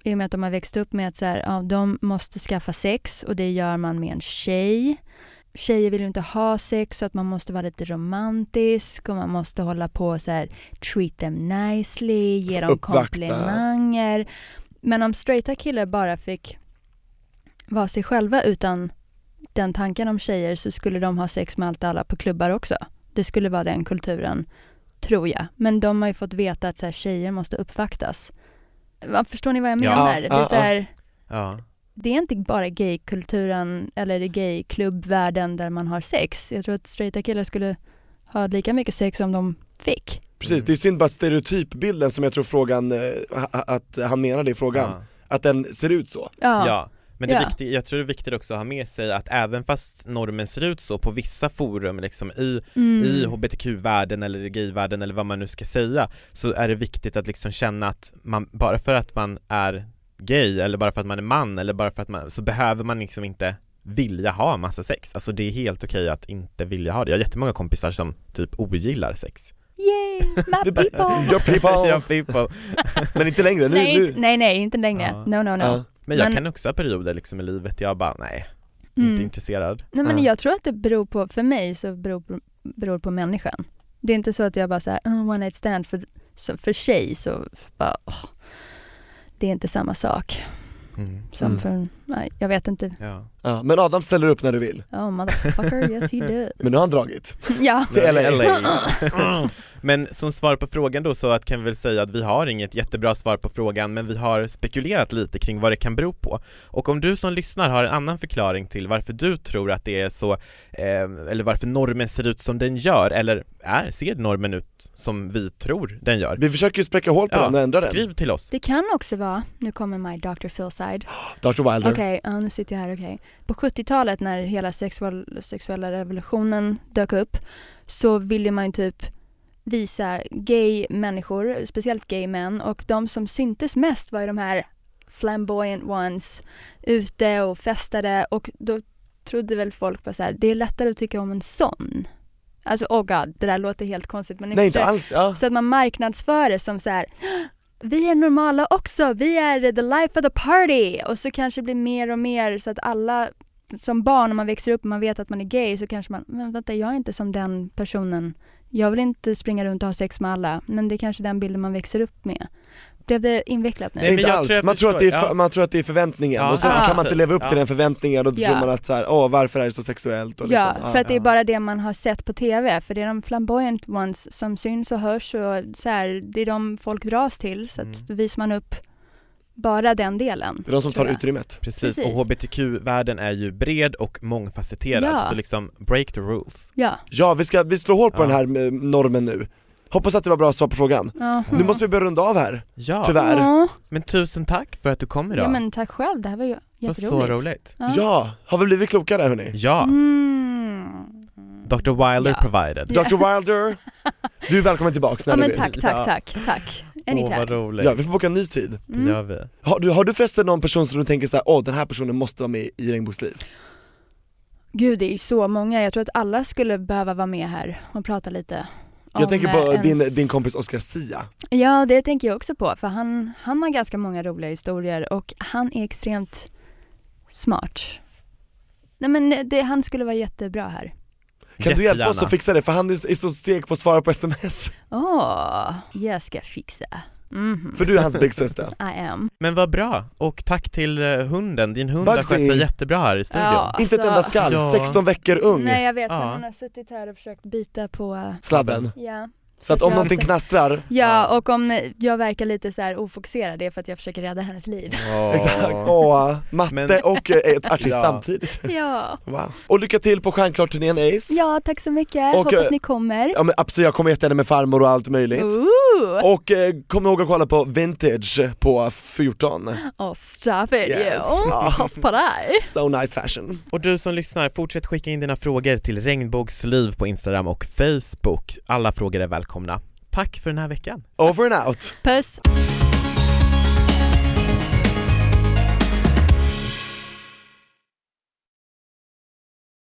Speaker 2: i och med att de har växt upp med att så här, ja, de måste skaffa sex och det gör man med en tjej. Tjejer vill ju inte ha sex så att man måste vara lite romantisk och man måste hålla på så här treat them nicely, ge dem
Speaker 4: Uppvakta.
Speaker 2: komplimanger. Men om straighta killar bara fick vara sig själva utan den tanken om tjejer så skulle de ha sex med allt och alla på klubbar också. Det skulle vara den kulturen, tror jag. Men de har ju fått veta att så här, tjejer måste uppvaktas. Va, förstår ni vad jag
Speaker 3: Ja,
Speaker 2: menar? det, är
Speaker 4: ja,
Speaker 2: så här,
Speaker 3: Ja.
Speaker 2: det är inte bara gaykulturen eller gayklubbvärlden där man har sex. Jag tror att straighta killar skulle ha lika mycket sex som de fick.
Speaker 4: Precis, det är synd bara att stereotypbilden som jag tror frågan, eh, ha- att han menade i frågan,
Speaker 3: Ja.
Speaker 4: att den ser ut så.
Speaker 2: Ja,
Speaker 3: Ja, men det är
Speaker 2: Ja.
Speaker 3: viktigt, jag tror det är viktigt också att ha med sig att även fast normen ser ut så på vissa forum liksom i,
Speaker 2: Mm.
Speaker 3: i hbtq-världen eller i gay-världen eller vad man nu ska säga så är det viktigt att liksom känna att man, bara för att man är gay eller bara för att man är man eller bara för att man, så behöver man liksom inte vilja ha massa sex. Alltså det är helt okej att inte vilja ha det. Jag har jättemånga kompisar som typ ogillar sex.
Speaker 2: yay, my people!
Speaker 4: Your people.
Speaker 3: Ja, people.
Speaker 4: Men inte längre, nu,
Speaker 2: nej,
Speaker 4: nu.
Speaker 2: inte- nej, nej, inte längre.
Speaker 3: Ja.
Speaker 2: No, no, no.
Speaker 4: Ja.
Speaker 3: Men jag
Speaker 2: Men-
Speaker 3: kan också ha perioder liksom i livet där jag bara nej,
Speaker 2: Mm.
Speaker 3: inte intresserad.
Speaker 2: Nej men
Speaker 4: Ja.
Speaker 2: jag tror att det beror på, för mig så beror, beror på människan. Det är inte så att jag bara såhär, oh, one night stand, för, så, för tjej så bara, åh, det är inte samma sak
Speaker 3: Mm.
Speaker 2: som
Speaker 4: Mm.
Speaker 2: för, nej, jag vet inte,
Speaker 3: Ja.
Speaker 4: Ja, men Adam ställer upp när du vill,
Speaker 2: oh motherfucker, yes he does.
Speaker 4: men nu har han dragit.
Speaker 2: ja,
Speaker 4: Till LA.
Speaker 3: Mm. Men som svar på frågan då så att kan vi väl säga att vi har inget jättebra svar på frågan men vi har spekulerat lite kring vad det kan bero på. Och om du som lyssnar har en annan förklaring till varför du tror att det är så, eh, eller varför normen ser ut som den gör, eller är, ser normen ut som vi tror den gör?
Speaker 4: Vi försöker ju spräcka hål på den och ändra den.
Speaker 3: skriv till oss.
Speaker 2: det kan också vara, nu kommer my Dr. Philside,
Speaker 4: Dr Wilder.
Speaker 2: Okej, ja, nu sitter jag här, okej. På 70-talet när hela sexual, sexuella revolutionen dök upp så ville man ju typ visa gay människor, speciellt gay män och de som syntes mest var ju de här flamboyant ones ute och festade och då trodde väl folk bara så här, det är lättare att tycka om en sån. Alltså oh god, det där låter helt konstigt men ni
Speaker 4: Nej inte
Speaker 2: förstår.
Speaker 4: alls, ja.
Speaker 2: Så att man marknadsför det som så här vi är normala också, vi är the life of the party och så kanske det blir mer och mer så att alla som barn om man växer upp och man vet att man är gay så kanske man, men vänta jag är inte som den personen. Jag vill inte springa runt och ha sex med alla men det är kanske den bilden man växer upp med. Blev det invecklat nu?
Speaker 3: Nej, men
Speaker 4: inte
Speaker 3: jag
Speaker 4: alls,
Speaker 3: tror jag
Speaker 4: man, tror att det är
Speaker 3: förstår,
Speaker 4: för,
Speaker 3: ja.
Speaker 4: man tror att det är förväntningen
Speaker 3: Ja,
Speaker 4: och så
Speaker 3: ja,
Speaker 4: kan man inte
Speaker 3: precis.
Speaker 4: leva upp till
Speaker 3: Ja.
Speaker 4: den förväntningen och då
Speaker 2: Ja.
Speaker 4: tror man att så här, åh varför är det så sexuellt och liksom,
Speaker 2: ja, för att det är
Speaker 3: ja.
Speaker 2: bara det man har sett på TV för det är de flamboyant ones som syns och hörs och så här, det är de folk dras till så att
Speaker 3: Mm.
Speaker 2: då visar man upp bara den delen.
Speaker 4: Det är de som
Speaker 2: tror
Speaker 4: tar
Speaker 2: jag.
Speaker 4: utrymmet.
Speaker 3: Precis,
Speaker 2: Precis.
Speaker 3: och hbtq-världen är ju bred och mångfacetterad
Speaker 2: Ja.
Speaker 3: så liksom break the rules.
Speaker 2: Ja.
Speaker 4: Ja, vi ska, vi slår hål på
Speaker 3: Ja.
Speaker 4: den här eh, normen nu. Hoppas att det var bra svar på frågan.
Speaker 2: Ja.
Speaker 4: Nu måste vi börja runda av här,
Speaker 3: Ja,
Speaker 4: tyvärr.
Speaker 2: Ja.
Speaker 3: men tusen tack för att du kom idag.
Speaker 2: Ja men tack själv, det här var ju
Speaker 3: det var
Speaker 2: jätteroligt.
Speaker 3: så roligt.
Speaker 2: Ja.
Speaker 4: Ja, har vi blivit klokare hörni?
Speaker 3: Ja,
Speaker 2: Mm.
Speaker 3: Dr. Wilder
Speaker 2: Ja.
Speaker 3: provided.
Speaker 4: Dr Wilder, du är välkommen tillbaks när
Speaker 2: Ja
Speaker 4: du
Speaker 2: men
Speaker 4: vill.
Speaker 2: tack, tack,
Speaker 3: Ja.
Speaker 2: tack, tack.
Speaker 3: Åh vad
Speaker 2: Anytime.
Speaker 3: roligt. Mm.
Speaker 4: Ja, vi får boka en ny tid.
Speaker 3: Det gör vi.
Speaker 4: Har du, har du förresten någon person som du tänker så här, åh den här personen måste vara med i Regnbågsliv?
Speaker 2: Gud det är ju så många, jag tror att alla skulle behöva vara med här och prata lite. om,
Speaker 4: Jag tänker på
Speaker 2: eh, ens-
Speaker 4: din, din kompis Oscar Sia.
Speaker 2: Ja det tänker jag också på för han, han har ganska många roliga historier och han är extremt smart. Nej men det, han skulle vara jättebra här.
Speaker 4: Kan du hjälpa oss
Speaker 3: Jättegärna.
Speaker 4: att fixa det? För han är är så seg på att svara på sms.
Speaker 2: Åh, jag ska fixa. Mhm,
Speaker 4: För du är hans big sister.
Speaker 2: I am.
Speaker 3: Men vad bra, och tack till eh, hunden, din hund har
Speaker 4: Bugsy.
Speaker 3: skött sig jättebra här i studion.
Speaker 4: Inte ett enda skall,
Speaker 3: Ja.
Speaker 4: 16 veckor ung.
Speaker 2: Nej jag vet, men
Speaker 3: Ja.
Speaker 2: hon har suttit här och försökt bita på, eh,
Speaker 4: Sladden.
Speaker 2: ja.
Speaker 4: Så att om
Speaker 2: Ja,
Speaker 4: någonting
Speaker 2: så-
Speaker 4: knastrar,
Speaker 2: Ja, och om jag verkar lite så här ofokuserad det är för att jag försöker rädda hennes liv.
Speaker 3: Åh.
Speaker 4: exakt, åh, matte
Speaker 3: Men-
Speaker 4: och eh, ett artist
Speaker 3: Ja.
Speaker 4: samtidigt.
Speaker 2: Ja,
Speaker 4: Wow. Och lycka till på Stjärnklart-turnén Ace.
Speaker 2: ja tack så mycket.
Speaker 4: Och, eh,
Speaker 2: Hoppas ni kommer.
Speaker 4: Ja men absolut, jag kommer jättegärna med farmor och allt möjligt.
Speaker 2: Uh. Ooh,
Speaker 4: Och eh, kom ihåg att kolla på Vintage på 14.
Speaker 2: oh, stop it
Speaker 4: Yes.
Speaker 2: you.
Speaker 4: Ja.
Speaker 2: Hoppas på dig.
Speaker 4: So nice fashion.
Speaker 3: Och du som lyssnar, fortsätt skicka in dina frågor till regnbågsliv på Instagram och Facebook. Alla frågor är välkomna. Tack för den här veckan.
Speaker 4: Over and out.
Speaker 2: Puss.